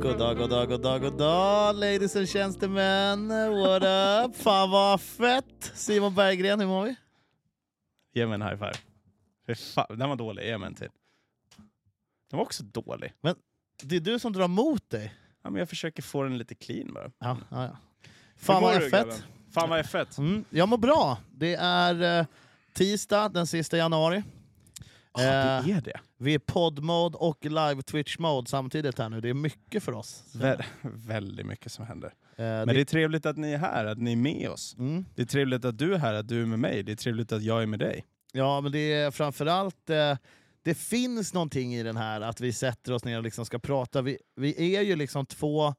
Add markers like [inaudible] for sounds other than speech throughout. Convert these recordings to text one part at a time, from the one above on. God dag, god dag, god dag, god dag ladies and tjänstemän. What up? Fan vad fett! Simon Berggren, hur mår vi? Ge mig en high five. Fy fan, den var dålig. Ge mig en till. Den var också dålig. Det är du som drar mot dig. Ja, men jag försöker få den lite clean bara. Ja, ja, ja. Hur Fan mår vad du, fett. grabben? Fan vad jag är fett. Mm, jag mår bra. Det är eh, tisdag den sista januari. Eh, Ah, det är det. Vi är podd-mode och live-twitch-mode samtidigt här nu. Det är mycket för oss. Vä- väldigt mycket som händer. Eh, Men det är trevligt att ni är här, att ni är med oss. mm. Det är trevligt att du är här, att du är med mig. Det är trevligt att jag är med dig. Ja, men det är framförallt... Eh, det finns någonting i den här att vi sätter oss ner och liksom ska prata. Vi, vi är ju liksom två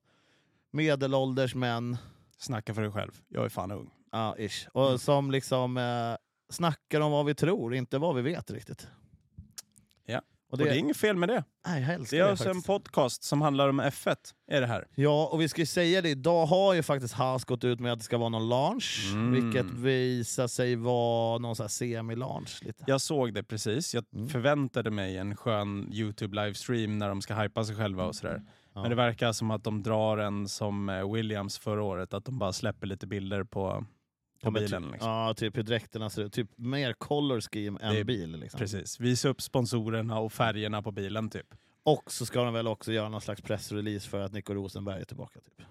medelålders män Snacka för dig själv. Jag är fan ung. ja, ish, Mm. och som liksom eh, snackar om vad vi tror, inte vad vi vet riktigt. Ja. Och Och det är det, inget fel med det. nej, jag älskar Det det, är alltså en faktiskt. podcast som handlar om F1. Är det här. Ja, och vi ska ju säga det, idag har ju faktiskt Haas gått ut med att det ska vara någon launch, Mm. vilket visar sig vara någon sån här semi-launch. Lite. Jag såg det precis. Jag Mm. förväntade mig en skön YouTube-livestream när de ska hypa sig själva och sådär. Ja. Men det verkar som att de drar en som eh, Williams förra året, att de bara släpper lite bilder på, på Ja, men bilen. typ- Liksom. Ja, typ hur dräkterna ser ut. Typ mer color scheme än Det är- bil. Liksom. Precis. Visa upp sponsorerna och färgerna på bilen typ. Och så ska de väl också göra någon slags pressrelease för att Nico Rosenberg är tillbaka. Typ.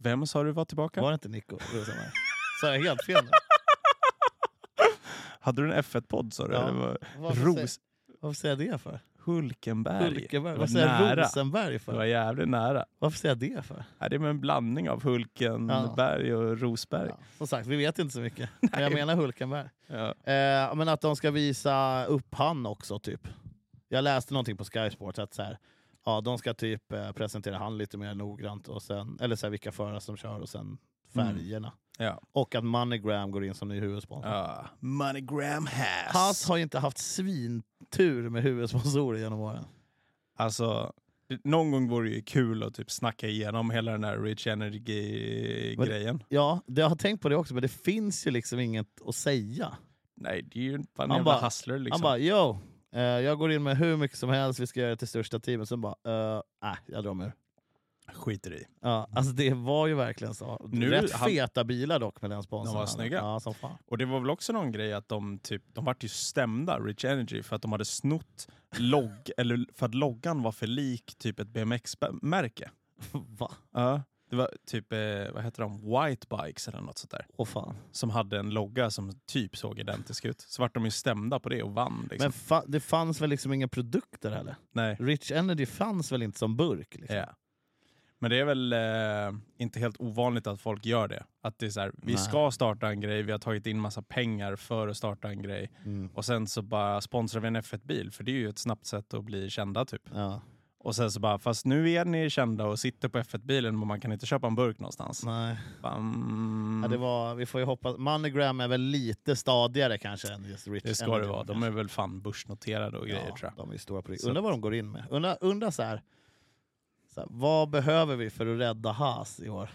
Vem sa du var tillbaka? Var det inte Nico Rosenberg? Så jag helt fel nu? Hade du en F1-podd sa du? Ja. Eller var... Varför, Ros... varför säger jag det för? Hulkenberg. Hulkenberg. Det Varför var säger jag nära. Rosenberg Det var för? jävligt nära. Varför säger jag det för? Ja, Det är en blandning av Hulkenberg och Rosberg. Ja. Som sagt, vi vet inte så mycket. Men jag menar Hulkenberg. Ja. Eh, men att de ska visa upp han också, typ. Jag läste någonting på Sky Sports att så här, ja, de ska typ eh, presentera han lite mer noggrant, och sen, eller så här, vilka förare som kör och sen färgerna. Mm. Ja. Och att Moneygram går in som ny huvudsponsor. Ja. Moneygram has. Haas har ju inte haft svintur med huvudsponsorer genom åren. Alltså, någon gång vore det ju kul att typ snacka igenom hela den här Rich Energy-grejen. Ja, det, jag har tänkt på det också, men det finns ju liksom inget att säga. Nej, det är ju bara en Han jävla bara- hustler Han liksom. bara “Yo, eh, jag går in med hur mycket som helst, vi ska göra det till största teamet”. Sen bara “Eh, nej, jag drar mig ur. Skiter i. Ja, alltså det var ju verkligen så. Mm. Nu- Rätt han- feta bilar dock med den sponsorn. De var han- snygga. Ja, som [laughs] fan. Och det var väl också någon grej att de typ, de vart ju stämda, Rich Energy, för att de hade snott logg, [laughs] eller för att loggan var för lik typ ett BMX-märke. Va? Ja. Det var typ, eh, vad heter de, White Bikes eller något sånt där. Åh fan. Som hade en logga som typ såg identisk ut. Så vart de ju stämda på det och vann. Liksom. Men fa- det fanns väl liksom inga produkter heller? Nej. Rich Energy fanns väl inte som burk? Liksom. Ja. Men det är väl eh, inte helt ovanligt att folk gör det. Att det är så här, vi Nej. ska starta en grej, vi har tagit in massa pengar för att starta en grej Mm. och sen så bara sponsrar vi en F1-bil för det är ju ett snabbt sätt att bli kända typ. Ja. Och sen så bara, fast nu är ni kända och sitter på F1-bilen men man kan inte köpa en burk någonstans. Nej. Bara, mm, Ja, det var, vi får ju hoppas. Monogram är väl lite stadigare kanske än just Rich det ska Energy, det vara. De är väl fan börsnoterade och grejer ja, tror jag. De är ju stora på riktigt. Så Undrar vad de går in med. Undrar undra så, här, så här, vad behöver vi för att rädda Haas i år?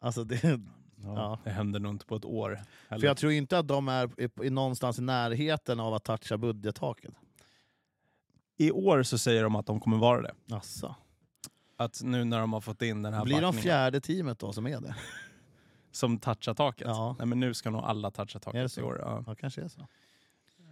Alltså det, ja. Det händer nog inte på ett år. För jag tror inte att de är i, i någonstans i närheten av att toucha budgettaket. I år så säger de att de kommer vara det. Alltså. Att nu när de har fått in den här Blir de backningen- fjärde teamet då som är det? som touchar taket. Ja. Nej, men nu ska nog alla toucha Är det taket så? i år. Ja. Ja, kanske är så.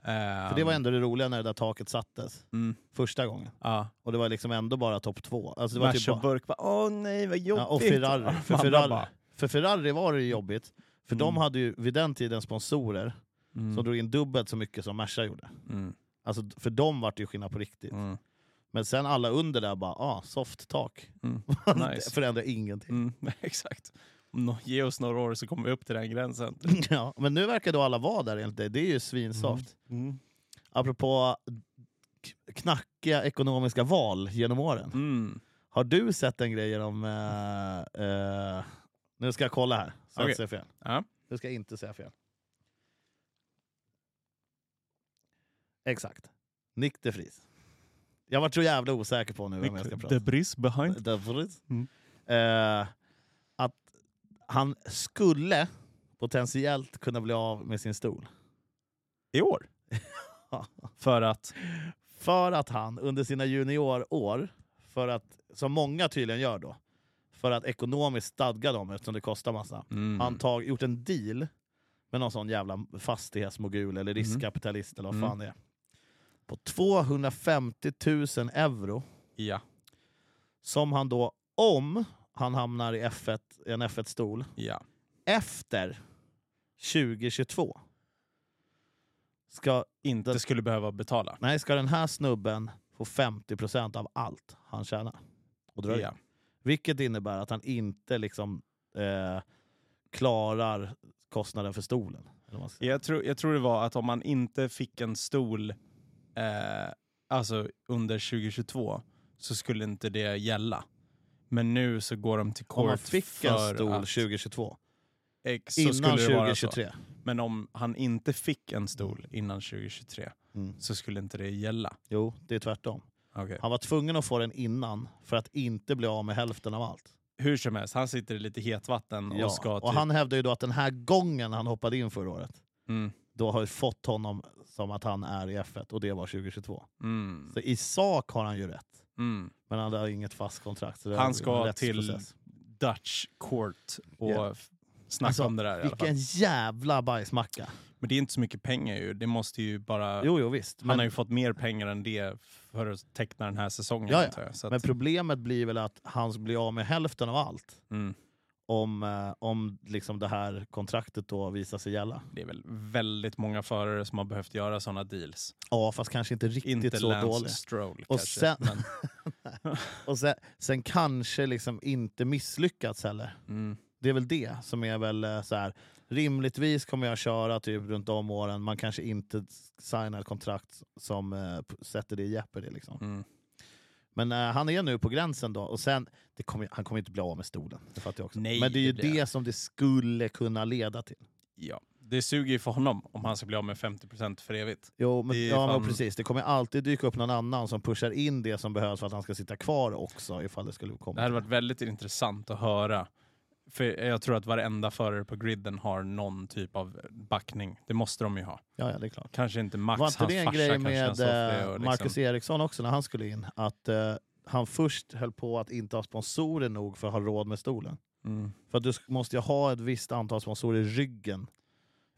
Ehm, För det var ändå det roliga när det där taket sattes Mm, första gången. ja. Och det var liksom ändå bara topp två. Alltså det var Merca typ bara, Burk bara åh nej vad jobbigt. Ja, och Ferrari. [laughs] För Alla Ferrari, bara, för Ferrari var det ju jobbigt, för de Mm. hade ju vid den tiden sponsorer mm, som drog in dubbelt så mycket som Merca gjorde. mm, Alltså, för dem vart det ju skillnad på riktigt. mm, Men sen alla under där bara, ah, soft tak. [laughs] mm, Nice. det förändrar ingenting. mm, [laughs] exakt. Om nå- Ge oss några år så kommer vi upp till den gränsen. [laughs] ja, men nu verkar då alla vara där enligt dig, det är ju svinsoft. Mm. Apropå k- knackiga ekonomiska val genom åren. Mm. Har du sett en grej om... eh, eh, nu ska jag kolla här, så jag Okej. inte säger fel. Ja. Nu ska jag inte säga fel. Exakt. Nick de Vries. Jag var så jävla osäker på nu vem jag ska prata The breeze behind. The Vries. Mm. Eh, att Han skulle potentiellt kunna bli av med sin stol. [laughs] I år? För att... För att han under sina juniorår, för att, som många tydligen gör då, för att ekonomiskt stadga dem eftersom det kostar massa, Mm. har han tag, gjort en deal med någon sån jävla fastighetsmogul eller Mm. riskkapitalist eller vad Mm. fan det är. På 250 000 euro Ja, som han då, om han hamnar i F1, i en F1-stol, ja. efter 2022 ska, Inte skulle behöva betala. nej, ska den här snubben få 50% av allt han tjänar. Och drar in. Ja. Vilket innebär att han inte liksom, eh, klarar kostnaden för stolen. Eller vad man ska säga. Jag, tror, jag tror det var att om man inte fick en stol eh, alltså under 2022 så skulle inte det gälla. Men nu så går de till court Om han fick en för stol att, 2022, ex, så innan skulle det vara så. 2023. Men om han inte fick en stol innan 2023 Mm. så skulle inte det gälla. Jo, det är tvärtom. Okej. Han var tvungen att få den innan för att inte bli av med hälften av allt. Hur som helst, han sitter i lite hetvatten Ja. och ska... typ- och han hävdar ju då att den här gången han hoppade in förra året, mm, då har ju fått honom som att han är i F1 och det var 2022. mm, Så i sak har han ju rätt, mm. men han har inget fast kontrakt. Så det är Han en ska till rättsprocess. Dutch court och Ja. f- snacka Alltså, om det där i alla fall. Vilken jävla bajsmacka! Men det är inte så mycket pengar ju. Det måste ju bara... Jo, jo visst. han har Men, ju fått mer pengar än det för att teckna den här säsongen. Ja, ja. antar jag. Så att, men problemet blir väl att han blir av med hälften av allt mm, om, eh, om liksom det här kontraktet då visar sig gälla. det är väl väldigt många förare som har behövt göra sådana deals. Ja, fast kanske inte riktigt Inte så Lance dåligt. Stroll Och kanske. sen- Men, Och sen, sen kanske liksom inte misslyckats heller. mm, Det är väl det som är väl eh, så här. Rimligtvis kommer jag köra typ runt om åren. Man kanske inte s- signar ett kontrakt som eh, p- sätter det i jeopardy. Liksom. mm. Men eh, han är nu på gränsen då. Och sen, det kommer, ju- han kommer inte bli av med stolen. Det fattar jag också. Nej, Men det är ju det det, blir som det skulle kunna leda till. Ja. Det suger ju för honom om han ska bli av med 50% för evigt. Jo, men, Det är ja, fan- men precis. Det kommer alltid dyka upp någon annan som pushar in det som behövs för att han ska sitta kvar också. Ifall det skulle komma. Det hade till. varit väldigt intressant att höra. För jag tror att varenda förare på griden har någon typ av backning. Det måste de ju ha. Ja, ja, det är klart. Kanske inte Max, Var inte hans det en farsa grej kanske med ens har eh, och Marcus liksom, Eriksson också när han skulle in? Att eh, han först höll på att inte ha sponsorer nog för att ha råd med stolen. mm, För att du sk- måste ju ha ett visst antal sponsorer i ryggen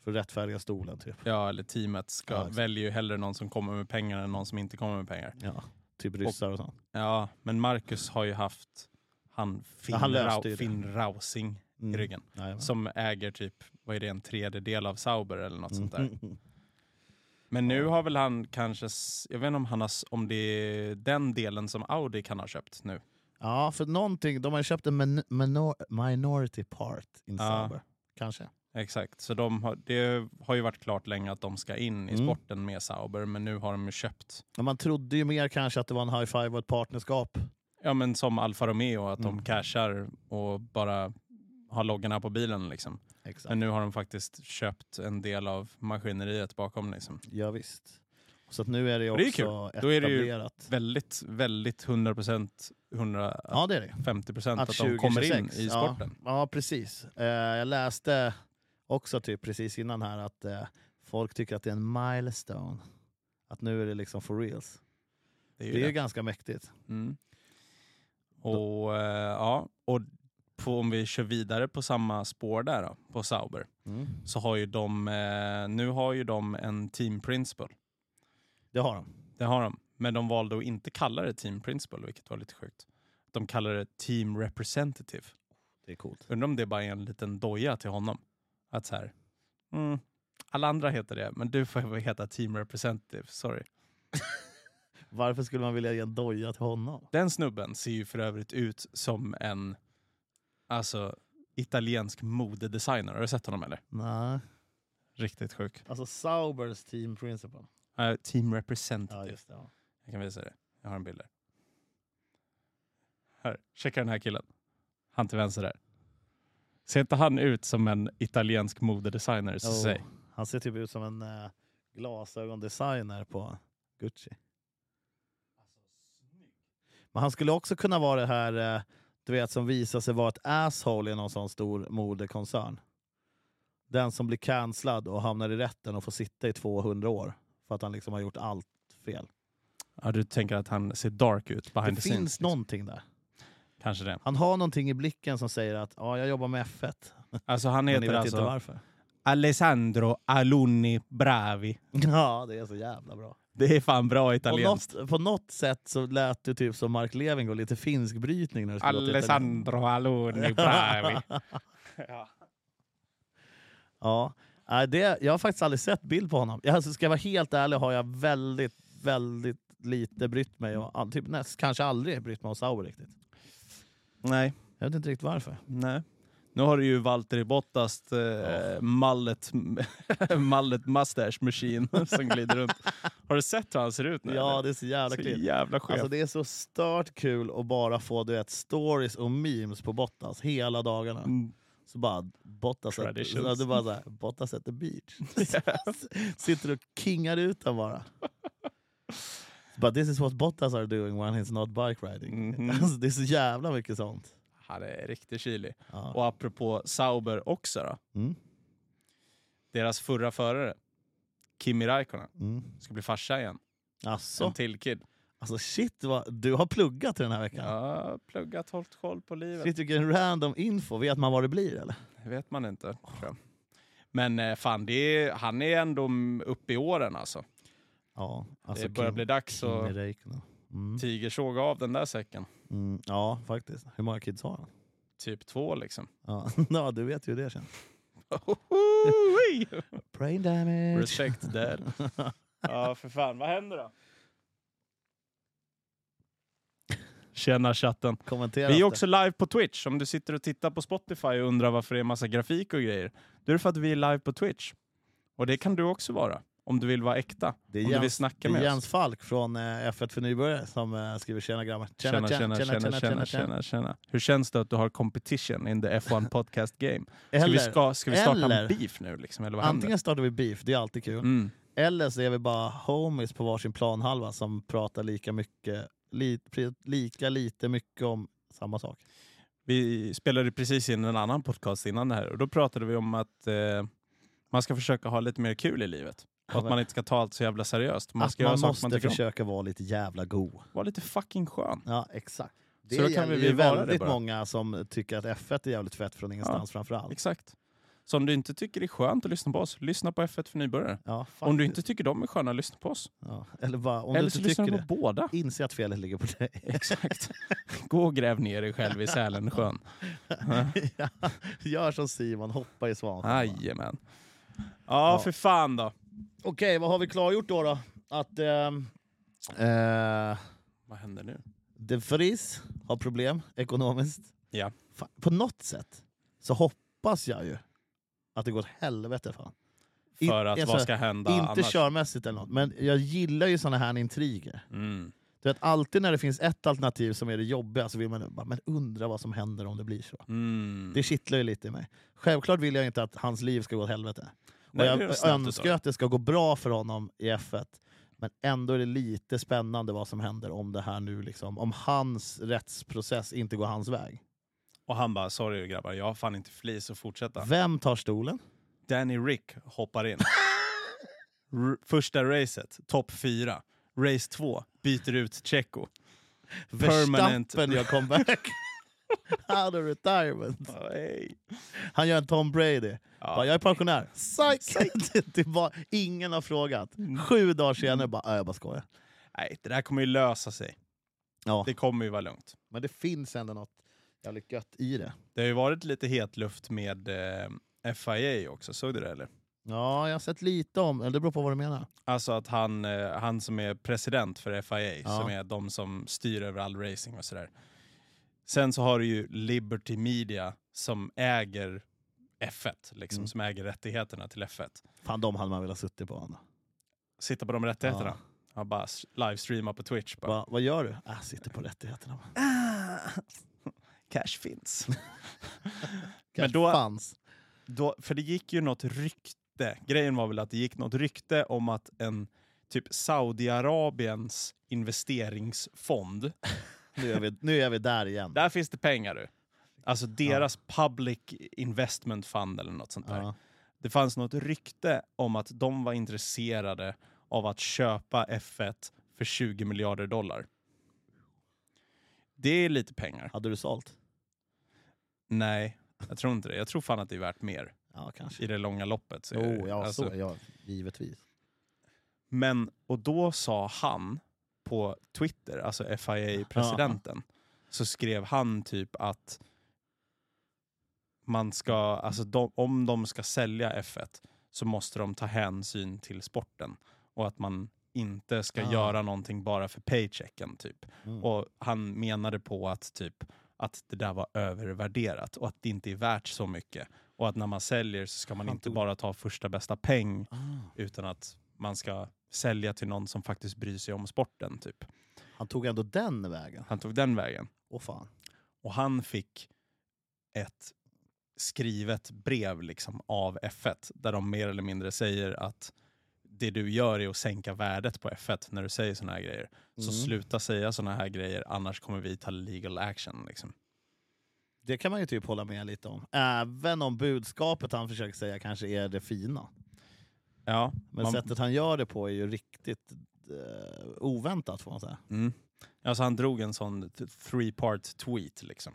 för att rättfärdiga stolen. Typ, Ja, eller teamet ska, Ja, exakt. väljer ju hellre någon som kommer med pengar än någon som inte kommer med pengar. ja. typ ryssar och sånt. Ja, men Marcus har ju haft han Finn, Ja, han löste Rau, ju det. Finn Rausing i Mm. ryggen. Nej, men- Som äger typ, vad är det, en tredjedel av Sauber eller något sånt där. Mm. [laughs] Men nu har väl han kanske, s- jag vet inte om, han har, s- om det är den delen som Audi kan ha köpt nu. Ja, för någonting. De har ju köpt en min- minor- minority part in Ja. Sauber. Kanske. Exakt, så de har, det har ju varit klart länge att de ska in i Mm. sporten med Sauber, men nu har de ju köpt. Men man trodde ju mer kanske att det var en high five och ett partnerskap. Ja men som Alfa Romeo, att de Mm. cashar och bara har loggarna på bilen liksom. Exakt. Men nu har de faktiskt köpt en del av maskineriet bakom liksom. Ja, visst. Så att nu är det ju Och det är också Då är det ju- etablerat. Väldigt, väldigt 100 procent, 150 Ja, det är det. procent Att att de kommer in 2026, i sporten. Ja, precis. Eh, jag läste också typ precis innan här att eh, folk tycker att det är en milestone. Att nu är det liksom for reals. Det är Det ju är ju det. ganska mäktigt. Mm. Och, eh, ja, och på, om vi kör vidare på samma spår där då, på Sauber, Mm. så har ju de, eh, nu har ju de en team principal. Det har de. Det har de. Men de valde att inte kalla det team principal, vilket var lite sjukt. De kallar det team representative. Det är coolt. Undrar om det bara är en liten doja till honom. Att så här, mm, alla andra heter det, men du får heta team representative. Sorry. Varför skulle man vilja ge en doja till honom? Den snubben ser ju för övrigt ut som en alltså, italiensk modedesigner. Har du sett honom eller? Nej. Riktigt sjuk. Alltså Saubers team principal. Eh, team Ja, representative. just det. Ja. Jag kan visa dig. Jag har en bild där. Här, checka den här killen. Han till vänster där. Ser inte han ut som en italiensk modedesigner? Så Jo. säg. Han ser typ ut som en eh, glasögondesigner på Gucci. Men han skulle också kunna vara det här, eh, du vet, som visar sig vara ett asshole i någon sån stor modekoncern. Den som blir cancellad och hamnar i rätten och får sitta i 200 år för att han liksom har gjort allt fel. Ja, du tänker att han ser dark ut behind det finns the scenes? liksom. någonting där. Kanske det. Han har någonting i blicken som säger att ja, jag jobbar med F1, Alltså men han ni heter vet inte alltså varför. [laughs] Alessandro Alunni Bravi. Ja, det är så jävla bra. Det är fan bra På italienskt. något, på något sätt så lät du typ som Mark Levengood, lite finsk brytning när du skulle låta italiensk. Alessandro [laughs] Alunni Bravi. Ja, Nej, det, jag har faktiskt aldrig sett bild på honom. Jag, alltså, ska jag vara helt ärlig har jag väldigt, väldigt lite brytt mig. Och, all- typ, näst, kanske aldrig brytt mig om Sauer riktigt. nej, Jag vet inte riktigt varför. nej. Nu har du ju Valtteri Bottas eh, mallet, [laughs] mallet mustache machine [laughs] som glider runt. Har du sett hur han ser ut nu? Ja, eller? det är så jävla så kul. jävla skev. Alltså, det är så stört kul att bara få du vet, stories och memes på Bottas hela dagarna. [laughs] Mm. Så bara Bottas at, Traditions. så det bara så här, Bottas at the beach. [laughs] [laughs] Sitter och kingar ut den bara. But this is what Bottas are doing when he's not bike riding. [laughs] Mhm. Alltså, det är så jävla mycket sånt. Han är riktigt kylig. Ja. Och apropå Sauber också då. Mm. Deras förra förare, Kimi Räikkönen, Mm. ska bli farsa igen. Alltså, En till kid. alltså shit, vad, du har pluggat den här Jag veckan. har pluggat, hållit koll på livet. Shit vilken random info, vet man vad det blir eller? Det vet man inte. Tror jag. Men eh, fan, det är, han är ändå mm, uppe i åren alltså. Ja, alltså det börjar Kim- bli Typ. dags Kimi att Räikkönen. Mm. tigersåga av den där säcken. Mm. Ja, faktiskt. Hur många kids har han? Typ två liksom. Ja, [laughs] ja du vet ju hur det känns. [laughs] Brain damage. Respect där. Ja, för fan. Vad händer då? Tjena [laughs] chatten. Kommentera Vi är inte. också live på Twitch. Om du sitter och tittar på Spotify och undrar varför det är massa grafik och grejer. Då är det för att vi är live på Twitch. Och det kan du också vara. Om du vill vara äkta. Det är om du vill Jens, det snacka är med Jens Falk från eh, F1 för nybörjare som eh, skriver “Tjena grabbar”. Tjena, tjena, tjena, tjena, tjena, tjena, Hur känns det att du har competition in the [laughs] F1 podcast game? Ska, vi, Eller, ska, ska vi starta eller- en beef nu liksom, eller vad händer? antingen startar vi beef, det är alltid kul. Mm. Eller så är vi bara homies på varsin planhalva som pratar lika mycket, li, pri- lika lite mycket om samma sak. Vi spelade precis in en annan podcast innan det här och då pratade vi om att eh, man ska försöka ha lite mer kul i livet. Och att man inte ska ta allt så jävla seriöst. Man Att ska göra man saker måste man tycker om. försöka vara lite jävla go. Vara lite fucking skön. Ja, exakt. Det då kan gäller vi ju vara det väldigt bara. många som tycker att F1 är jävligt fett från ingenstans framförallt. Exakt. Så om du inte tycker det är skönt att lyssna på oss, lyssna på F1 för nybörjare. Ja, Om du faktiskt. inte tycker de är sköna, lyssna på oss. ja. Eller bara, om eller du så inte lyssnar tycker du på det, båda. inse att felet ligger på dig. [laughs] Exakt. Gå och gräv ner dig själv i Sälensjön. [laughs] Ja, Gör som Simon, hoppa i svansjön. bara. Jajamän. Ja, Ja. för fan då. Okej, vad har vi klargjort då? då? Att ehm, eh, Vad händer nu? De Vries har problem ekonomiskt. Ja. Fan, på något sätt så hoppas jag ju att det går åt helvete. Fan. In- För att alltså, vad ska hända inte annars? körmässigt eller något, men jag gillar ju såna här intriger. Mm. Du vet, alltid när det finns ett alternativ som är det jobbiga så vill man bara, men undra vad som händer om det blir så. Mm. Det kittlar ju lite i mig. Självklart vill jag inte att hans liv ska gå åt helvete. Nej, och det är jag snällt önskar utav att det ska gå bra för honom i F1. Men ändå är det lite spännande vad som händer om det här nu liksom, om hans rättsprocess inte går hans väg. Och han bara, sorry grabbar, jag har fan inte flis att fortsätta. Vem tar stolen? Danny Rick hoppar in. R- första racet, topp fyra. Race två, byter ut Checo. Permanent. Verstappen gör [laughs] comeback. Out of retirement. Hey. Han gör en Tom Brady. Ja. Bara, jag är pensionär. Psych! [laughs] Det- det var, ingen har frågat. Mm. Sju dagar senare bara, "Äh, jag bara skojar. Nej, det där kommer ju lösa sig. Ja. Det kommer ju vara lugnt. Men det finns ändå något jävligt gött i det. Det har ju varit lite het luft med eh, FIA också, såg du det eller? Ja, jag har sett lite om, eller det beror på vad du menar. Alltså att han, eh, han som är president för FIA, Ja. som är de som styr över all racing och sådär. Sen så har du ju Liberty Media som äger F1, liksom, Mm. som äger rättigheterna till F1. Fan, de hade man velat suttit på. Anna. Sitta på de rättigheterna. Ja. Bara s- livestreama på Twitch. Bara. Va, vad gör du? Äh, sitter på rättigheterna. [laughs] Cash finns. Kanske då- fanns. Då, för det gick ju något rykte. Grejen var väl att det gick något rykte om att en typ Saudiarabiens investeringsfond Nu är vi, nu är vi där igen. Där finns det pengar du. Alltså deras public investment fund eller något sånt där. Ja. Det fanns något rykte om att de var intresserade av att köpa F1 för 20 miljarder dollar. Det är lite pengar. Hade du sålt? Nej, jag tror inte det. Jag tror fan att det är värt mer Ja, kanske. i det långa loppet. Så är det- Jo, Oh, ja, alltså, så, ja, givetvis. Men, och då sa han på Twitter, alltså FIA-presidenten, så skrev han typ att man ska, alltså de, om de ska sälja F1 så måste de ta hänsyn till sporten och att man inte ska Ah. göra någonting bara för paychecken typ. Mm. Och han menade på att typ att det där var övervärderat och att det inte är värt så mycket. Och att när man säljer så ska man Han inte tog- bara ta första bästa peng Ah, utan att man ska sälja till någon som faktiskt bryr sig om sporten. Typ. han tog ändå den vägen. Han tog den vägen. Åh fan. Och han fick ett skrivet brev liksom av F1 där de mer eller mindre säger att det du gör är att sänka värdet på F1 när du säger såna här grejer. Så Mm. sluta säga såna här grejer annars kommer vi ta legal action. Liksom. Det kan man ju typ hålla med lite om. Även om budskapet han försöker säga kanske är det fina. Ja, Men man- sättet han gör det på är ju riktigt eh, oväntat får man säga. Mm. Alltså han drog en sån t- three part tweet liksom.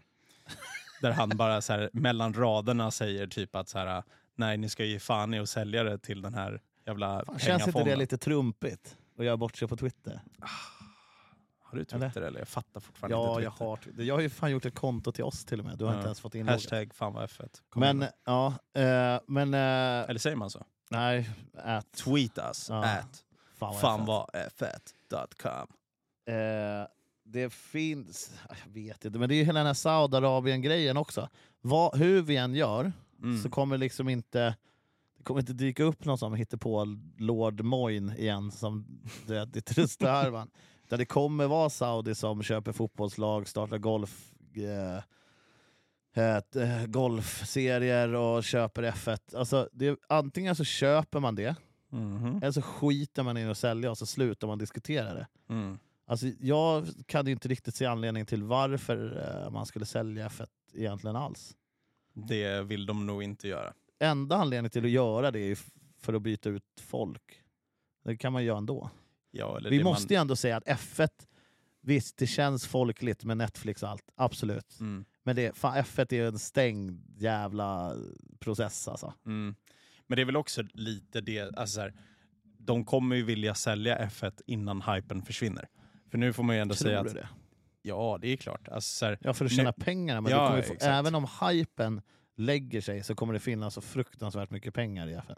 Där han bara så här, mellan raderna säger typ att så här, nej ni ska ge fan i att sälja det till den här Fan, jävla känns inte det pengafonden." lite trumpigt? Att göra bort sig på Twitter? Har du Twitter eller? Jag fattar fortfarande ja, inte jag Twitter. har, Twitter. jag har ju fan gjort ett konto till oss till och med. Du har Ja. inte ens fått inloggat. Hashtag fan vad F1. Kom Men, igen. ja, eh, men eh, Eller säger man så? nej. At, Tweet us Ja. at fan vad jag sa. fan vad F1.com. Eh, det finns, jag vet inte, men det är ju hela den här Saudiarabien-grejen också. Vad, hur vi än gör Mm. så kommer liksom inte det kommer inte dyka upp någon som hittar på Lord Moin igen som du vet, i Trustehärvan. Utan det kommer vara Saudi som köper fotbollslag, startar golf, eh, eh, t- eh, golfserier och köper F1. Alltså, det, antingen så köper man det, Mhm. eller så skiter man i att sälja och så slutar man diskutera det. Mm. Alltså, jag kan ju inte riktigt se anledningen till varför eh, man skulle sälja F1 egentligen alls. Det vill de nog inte göra. Enda anledningen till att göra det är ju f- för att byta ut folk. Det kan man göra ändå. Ja, eller Vi det måste ju ändå säga att F1, visst det känns folkligt med Netflix och allt, absolut. man... mm. Men det, fan, F1 är ju en stängd jävla process alltså. Mm. Men det är väl också lite det, alltså så här, de kommer ju vilja sälja F1 innan hypen försvinner. För nu får man ju ändå säga Tror att, du det? ja det är klart. Alltså så här, Ja, för att Nu- tjäna pengarna. Men Ja, det kommer ju få, exakt. även om hypen lägger sig så kommer det finnas så fruktansvärt mycket pengar i F1.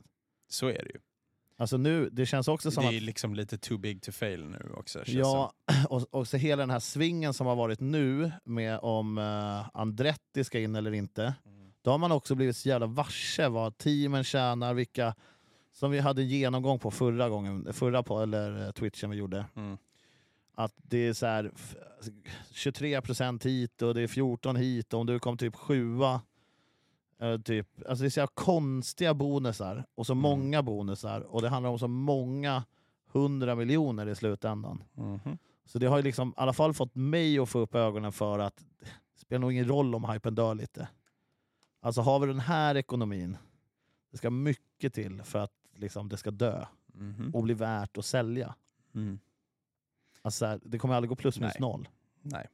så är det ju. Alltså nu, det känns också som Det att är liksom lite too big to fail nu också. känns Ja, [clears throat] och, och så hela den här svingen som har varit nu med om eh, Andretti ska in eller inte. det som. Då har man också blivit så jävla varse vad teamen tjänar, vilka som vi hade en genomgång på förra gången, förra på, eller eh, twitchen vi gjorde. Mm. Att det är så här f- 23% hit och det är 14 hit och om du kom typ sjua. eh, Typ, alltså det är så jävla konstiga bonusar och så Mm. många bonusar och det handlar om så många hundra miljoner i slutändan. Mhm. Så det har ju liksom, i alla fall fått mig att få upp ögonen för att det spelar nog ingen roll om hypen dör lite. Alltså har vi den här ekonomin, det ska mycket till för att liksom, det ska dö Mhm. och bli värt att sälja. Mm. Alltså, så här, det kommer aldrig gå plus minus Nej. noll. Nej.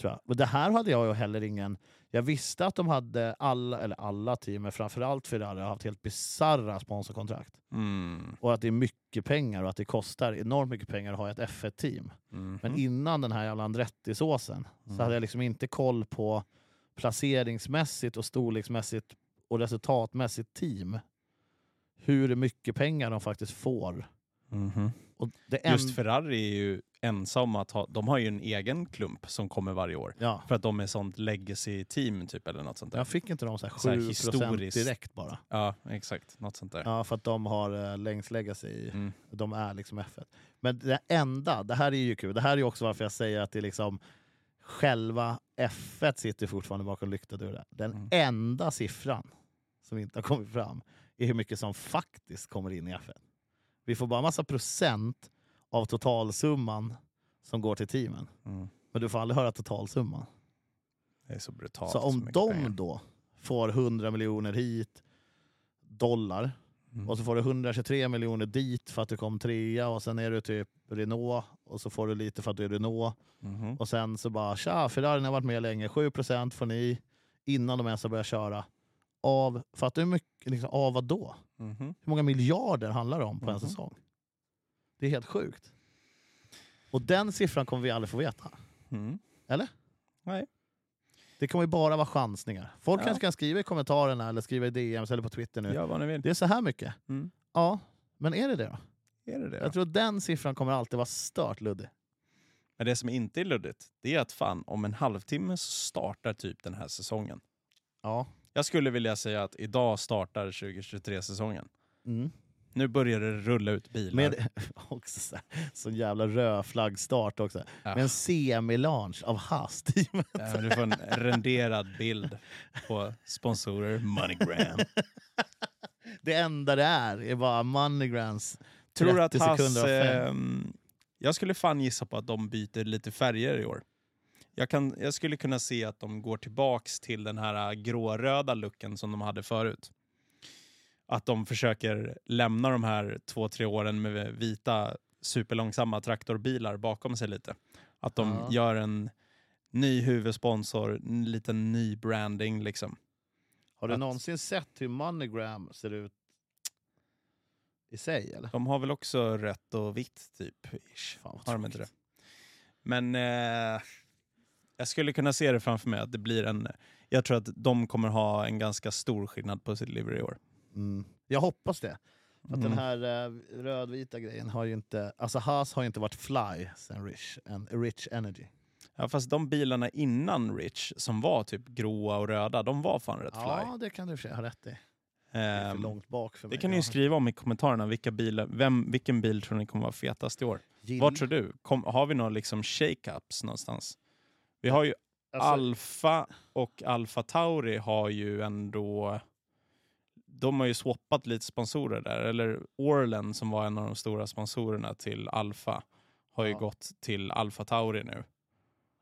Tror jag. Och det här hade jag ju heller ingen... Jag visste att de hade alla, eller alla team, men framförallt Ferrari, har haft helt bisarra sponsorkontrakt. Mm. Och att det är mycket pengar och att det kostar enormt mycket pengar att ha ett F1-team. Mhm. Men innan den här jävla Andretti-såsen Mm. så hade jag liksom inte koll på placeringsmässigt och storleksmässigt och resultatmässigt team. Hur mycket pengar de faktiskt får. Mhm. Och det en... Just Ferrari är ju ensamma att ha, de har ju en egen klump som kommer varje år. ja. För att de är sånt legacy-team typ eller något sånt där. Jag fick inte de så Så här här 7 historiskt. direkt bara. Ja, exakt. Något sånt där. Ja, för att de har eh, längst legacy. i- Mm. De är liksom F1. Men det enda, det här är ju kul, det här är ju också varför jag säger att det är liksom själva F1 sitter fortfarande bakom lyckta dörrar. Den Mm. enda siffran som inte har kommit fram är hur mycket som faktiskt kommer in i F1. Vi får bara massa procent av totalsumman som går till teamen. Mm. Men du får aldrig höra totalsumman. Det är så brutalt. så om mycket de pengar. då får 100 miljoner hit, dollar, Mm. och så får du 123 miljoner dit för att du kom trea och sen är du typ Renault och så får du lite för att du är Renault. Mhm. Och sen så bara tja, Ferrarin har varit med länge, 7% får ni innan de ens har börjat köra. Av, fattar du hur mycket, liksom, av vad då? Mhm. Hur många miljarder handlar det om på en Mhm. säsong? Det är helt sjukt. Och den siffran kommer vi aldrig få veta. Mm. Det kommer ju bara vara chansningar. Folk Ja. kanske kan skriva i kommentarerna eller skriva i DMs eller på Twitter nu. Gör vad ni vill. Det är så här mycket. Mm. Ja, men är det det då? Är det det då? Jag tror den siffran kommer alltid vara stört luddig. Men det som inte är luddigt, det är att fan, om en halvtimme så startar typ den här säsongen. Ja. Jag skulle vilja säga att idag startar 2023-säsongen. Mm. Nu börjar det rulla ut bilar. Med, [laughs] också så, här, sån jävla rödflaggstart också. Ja. Med en semi-launch av hast. [laughs] Ja, men Du får en renderad bild på sponsorer, MoneyGram. det enda det är är bara Moneygrams 30 Tror att Haas, sekunder av fem. ehm, Jag skulle fan gissa på att de byter lite färger i år. Jag, kan, jag skulle kunna se att de går tillbaks till den här äh, gråröda looken som de hade förut. Att de försöker lämna de här två, tre åren med vita superlångsamma traktorbilar bakom sig lite. Att de Ja. gör en ny huvudsponsor, en liten ny branding liksom. Har du att- någonsin sett hur Moneygram ser ut i sig? Eller? De har väl också rött och vitt typ. Ish. Fan, vad Har de inte det? tråkigt. Men eh, jag skulle kunna se det framför mig att det blir en... Jag tror att de kommer ha en ganska stor skillnad på sitt livery i år. Mm. Jag hoppas det. För att Mm. den här eh, rödvita grejen har ju inte... Alltså Haas har ju inte varit fly sen Rich, en, rich Energy. Ja, fast de bilarna innan Rich som var typ gråa och röda, de var fan rätt fly. Ja, det kan du i och för sig ha rätt i. Det är för Ehm, långt bak för mig. det kan ni ju Jag- skriva om i kommentarerna. Vilka bilar, vem, vilken bil tror ni kommer vara fetast i år? Gill- Vad tror du? Kom, har vi några liksom shake-ups någonstans? Vi har ju alltså, Alfa och Alfa Tauri har ju ändå... De har ju swappat lite sponsorer där. Eller Orlen som var en av de stora sponsorerna till Alfa har ju Ja. gått till Alfa Tauri nu.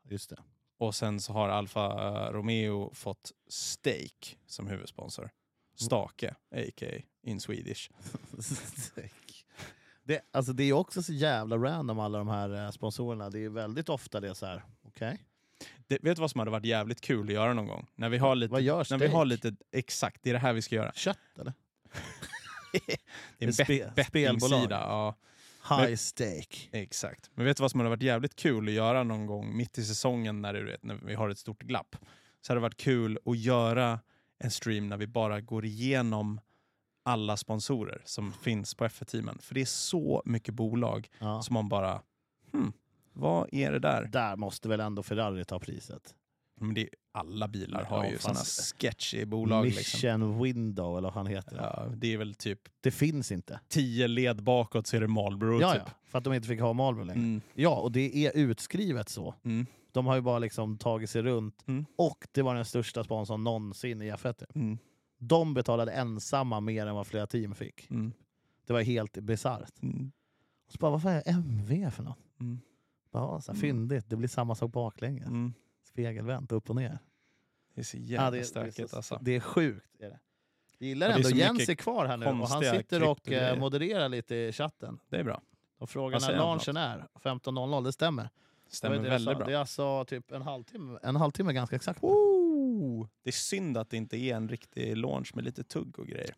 Just det. [laughs] Och sen så har Alfa eh, Romeo fått Stake som huvudsponsor. Mm. Stake, a.k.a. in Swedish. Säck. Det, alltså det är också så jävla random alla de här eh, sponsorerna. Det är väldigt ofta det är så här, okej? Det, vet du vad som hade varit jävligt kul att göra någon gång? När vi har lite... Vad gör När vi Stake? har lite, exakt, det är det här vi ska göra. Kött eller? Det är en Ett spe- bet, bettingsida. spelbolag. Ja. High Men- stake. Exakt. Men vet du vad som hade varit jävligt kul att göra någon gång mitt i säsongen när, du vet, när vi har ett stort glapp? Så hade det varit kul att göra en stream när vi bara går igenom alla sponsorer som finns på F1-teamen. För det är så mycket bolag Ja. som man bara, hmm, vad är det där? Där måste väl ändå Ferrari ta priset? Men det är, alla bilar har Ja, ju sådana fast- sketchy bolag. Liksom. Mission Window eller vad han heter. Ja, det är väl typ Det finns inte. tio led bakåt så är det Marlboro. Ja, typ. ja, för att de inte fick ha Marlboro längre. Mm. Ja, och det är utskrivet så. Mm. De har ju bara liksom tagit sig runt. Mm. Och det var den största sponsorn någonsin i F1. Mm. De betalade ensamma mer än vad flera team fick. Mm. Det var helt bisarrt. Mm. Och så bara, vad fan är MV för något? Mm. Bara, så här, Mm. Fyndigt, det blir samma sak baklänges. Mm. Spegelvänt, upp och ner. Det är så Ja, jävla det, stökigt det, är så, alltså. det är sjukt. Är det. Jag gillar Och det är ändå, så Jens mycket är kvar här nu och han konstiga sitter och kryptogrejer. eh, modererar lite i chatten. Det är bra. De frågar Vad när säger han launchen är, 15.00, det stämmer. Det var Stämmer det jag väldigt sa. bra. Det är alltså typ en halvtimme, en halvtimme ganska exakt. Woo! Det är synd att det inte är en riktig launch med lite tugg och grejer.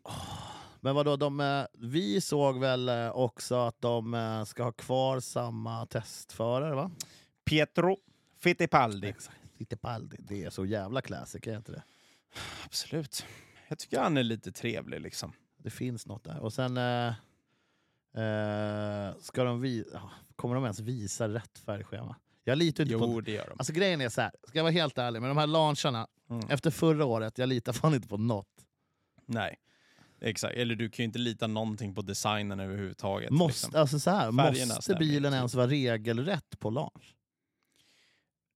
Men vadå, de, eh, vi såg väl eh, också att de eh, ska ha kvar samma testförare va? Pietro Fittipaldi. Exakt. Lite paldi, det är så jävla classic, är inte det? Absolut. Jag tycker han är lite trevlig liksom. Det finns något där. Och sen... Eh, eh, ska de vi- ah, kommer de ens visa rätt färgschema? Jag litar inte Jo, på... det gör de. Alltså grejen är så här. ska jag vara helt ärlig, med de här launcharna Mm. efter förra året, jag litar fan inte på något. Nej. Exakt. Eller du kan ju inte lita någonting på designen överhuvudtaget. Måste, liksom. alltså så här, Färgerna måste stämmer bilen inte. ens vara regelrätt på launch?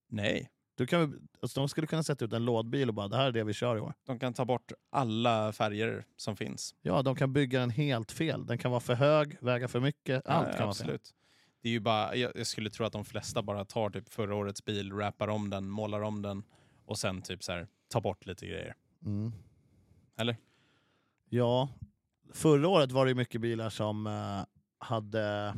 Nej. Du kan, väl- alltså de skulle kunna sätta ut en lådbil och bara det här är det vi kör i år. De kan ta bort alla färger som finns. Ja, de kan bygga den helt fel. Den kan vara för hög, väga för mycket, allt kan vara Ja, fel. Eh, absolut. Det är ju bara, jag, jag skulle tro att de flesta bara tar typ förra årets bil, rappar om den, målar om den och sen typ så här, tar bort lite grejer. Mm. Eller? Ja, förra året var det ju mycket bilar som eh, hade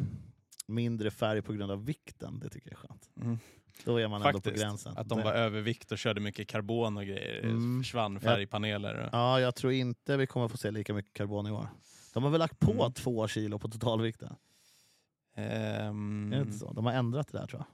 mindre färg på grund av vikten. Det tycker jag är skönt. Mm. Då är man ändå på Faktiskt, gränsen. Att de Det- var övervikt och körde mycket karbon och grejer. Mm. Försvann Ja. färgpaneler. och- Ja, jag tror inte vi kommer få se lika mycket karbon i år. De har väl lagt på Mm. två kilo på totalvikten? Ehm, Är det inte så? De har ändrat det där tror jag.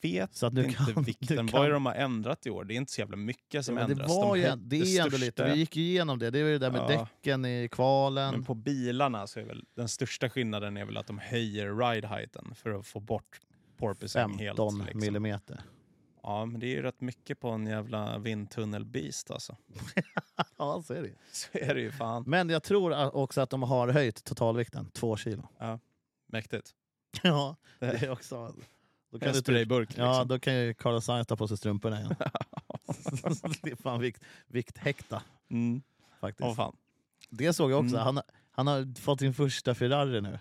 Vet Så att nu inte kan, [laughs] vikten. nu Vad kan- är det de har ändrat i år? Det är inte så jävla mycket som Men det, ändras. var de ju, höjde det är ju ändå lite, största- vi gick ju igenom det. Det var ju det där med Ja. däcken i kvalen. Men på bilarna så är väl den största skillnaden är väl att de höjer ride heighten för att få bort porpoising 15 helt. Liksom. millimeter. Ja, men det är ju rätt mycket på en jävla vindtunnelbeast alltså. [laughs] Ja, så är det. ju. Så är det ju fan. Men jag tror a- också att de har höjt totalvikten, två kilo. [laughs] Mäktigt. Ja, det är också... Då kan En du typ, sprayburk liksom. ja, då kan ju Carlos Sainz ta på sig strumporna igen. [laughs] det är fan vikt, vikthäkta mm. faktiskt. Åh, fan. Det såg jag också. Mm. Han, han har fått sin första Ferrari nu.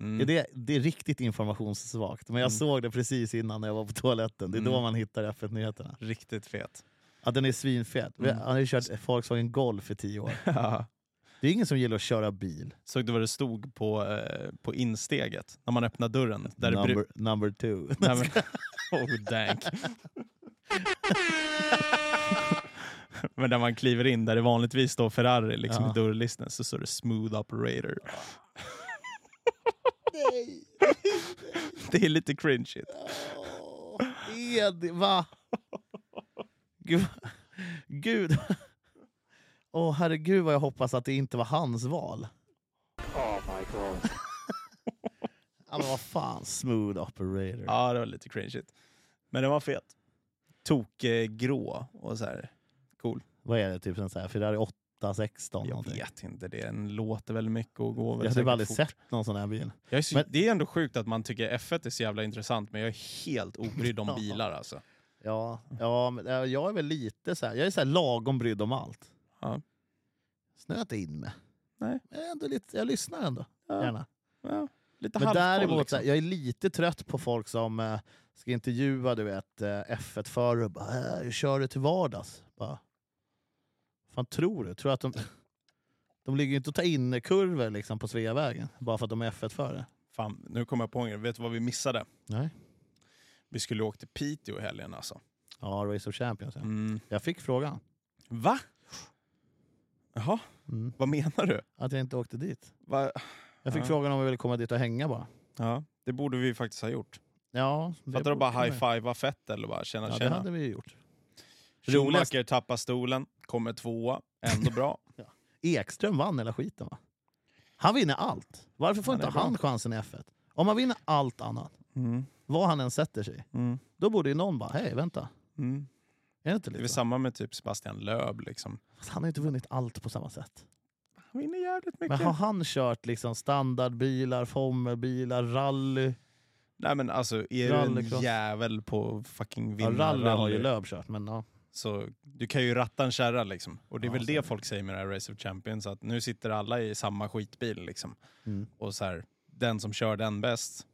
Mm. Är Det, det är riktigt informationssvagt, men jag Mm. såg det precis innan när jag var på toaletten. Det är då Mm. man hittar F1-nyheterna. [laughs] Riktigt fet. Ja, den är svinfet. Vi- Mm. Han har ju kört Volkswagen Golf i tio år. Det är ingen som gillar att köra bil. Såg du vad det stod på, eh, på insteget när man öppnar dörren? Där det bru- number, number two. [laughs] Nej, [laughs] men, oh, dank. [laughs] men när man kliver in där det vanligtvis står Ferrari liksom, Ja. i dörrlisten så står det smooth operator. [laughs] Nej! Det är lite cringe. Åh, Edi, va? Gud. Gud. Åh herregud vad jag hoppas att det inte var hans val. Oh my god. [laughs] Ja, men vad fan, smooth operator. Ja, det var lite cringe. Men den var fet. Tokgrå och så här. Cool. Vad är det, typ en sån här Ferrari 816? Jag någonting. vet inte, det. den låter väl mycket och går väl Jag hade säkert väl aldrig fort. sett någon sån här bil. Jag är så, Men- Det är ändå sjukt att man tycker F1 är så jävla intressant, men jag är helt obrydd [laughs] om Ja. bilar alltså. Ja, ja, men, ja, jag är väl lite så här, jag är så här lagom brydd om allt. Ja. Snöar inte in med. Nej. Men jag, är ändå lite, jag lyssnar ändå, gärna. Ja, lite Men halvkoll, däremot, liksom. så här, jag är lite trött på folk som eh, ska intervjua du vet, eh, F1-förare och bara äh, “Hur kör du till vardags?” bara, fan tror du? Tror du att de, de ligger ju inte och tar in kurvor liksom, på Sveavägen bara för att de är F1-förare. Fan, nu kommer jag på en grej. Vet du vad vi missade? Nej. Vi skulle åka till Piteå i helgen alltså. Ja, Race of Champions. Ja. Mm. Jag fick frågan. Va? Jaha, Mm. vad menar du? Att jag inte åkte dit. Va? Jag fick Ja. frågan om jag ville komma dit och hänga bara. Ja, det borde vi faktiskt ha gjort. Ja, det Fattar du borde bara man ju. high-fivea fett eller bara tjena Ja, det tjena. hade vi ju gjort. Roligast- Schumacher tappar stolen, kommer tvåa, ändå bra. Ekström vann hela skiten va? Han vinner allt. Varför får Ja, det inte är han chansen i F1? Om han vinner allt annat, [laughs] Mm, vad han än sätter sig mm, då borde ju någon bara, hej vänta, mm. är det inte Det är väl lite så? samma med typ Sebastian Löb liksom. Fast Han har ju inte vunnit allt på samma sätt. Han vinner jävligt mycket. Men har han kört liksom standardbilar, formelbilar, rally? Nej men alltså, är du en Rallycross. jävel på fucking Ja, vinna rally har ju rally- Lööf kört, men ja. Så du kan ju ratta en kärra liksom. Och det är Ja, väl så är det det. folk säger med det här Race of Champions, att nu sitter alla i samma skitbil liksom. Mm. Och så här, den som kör den bäst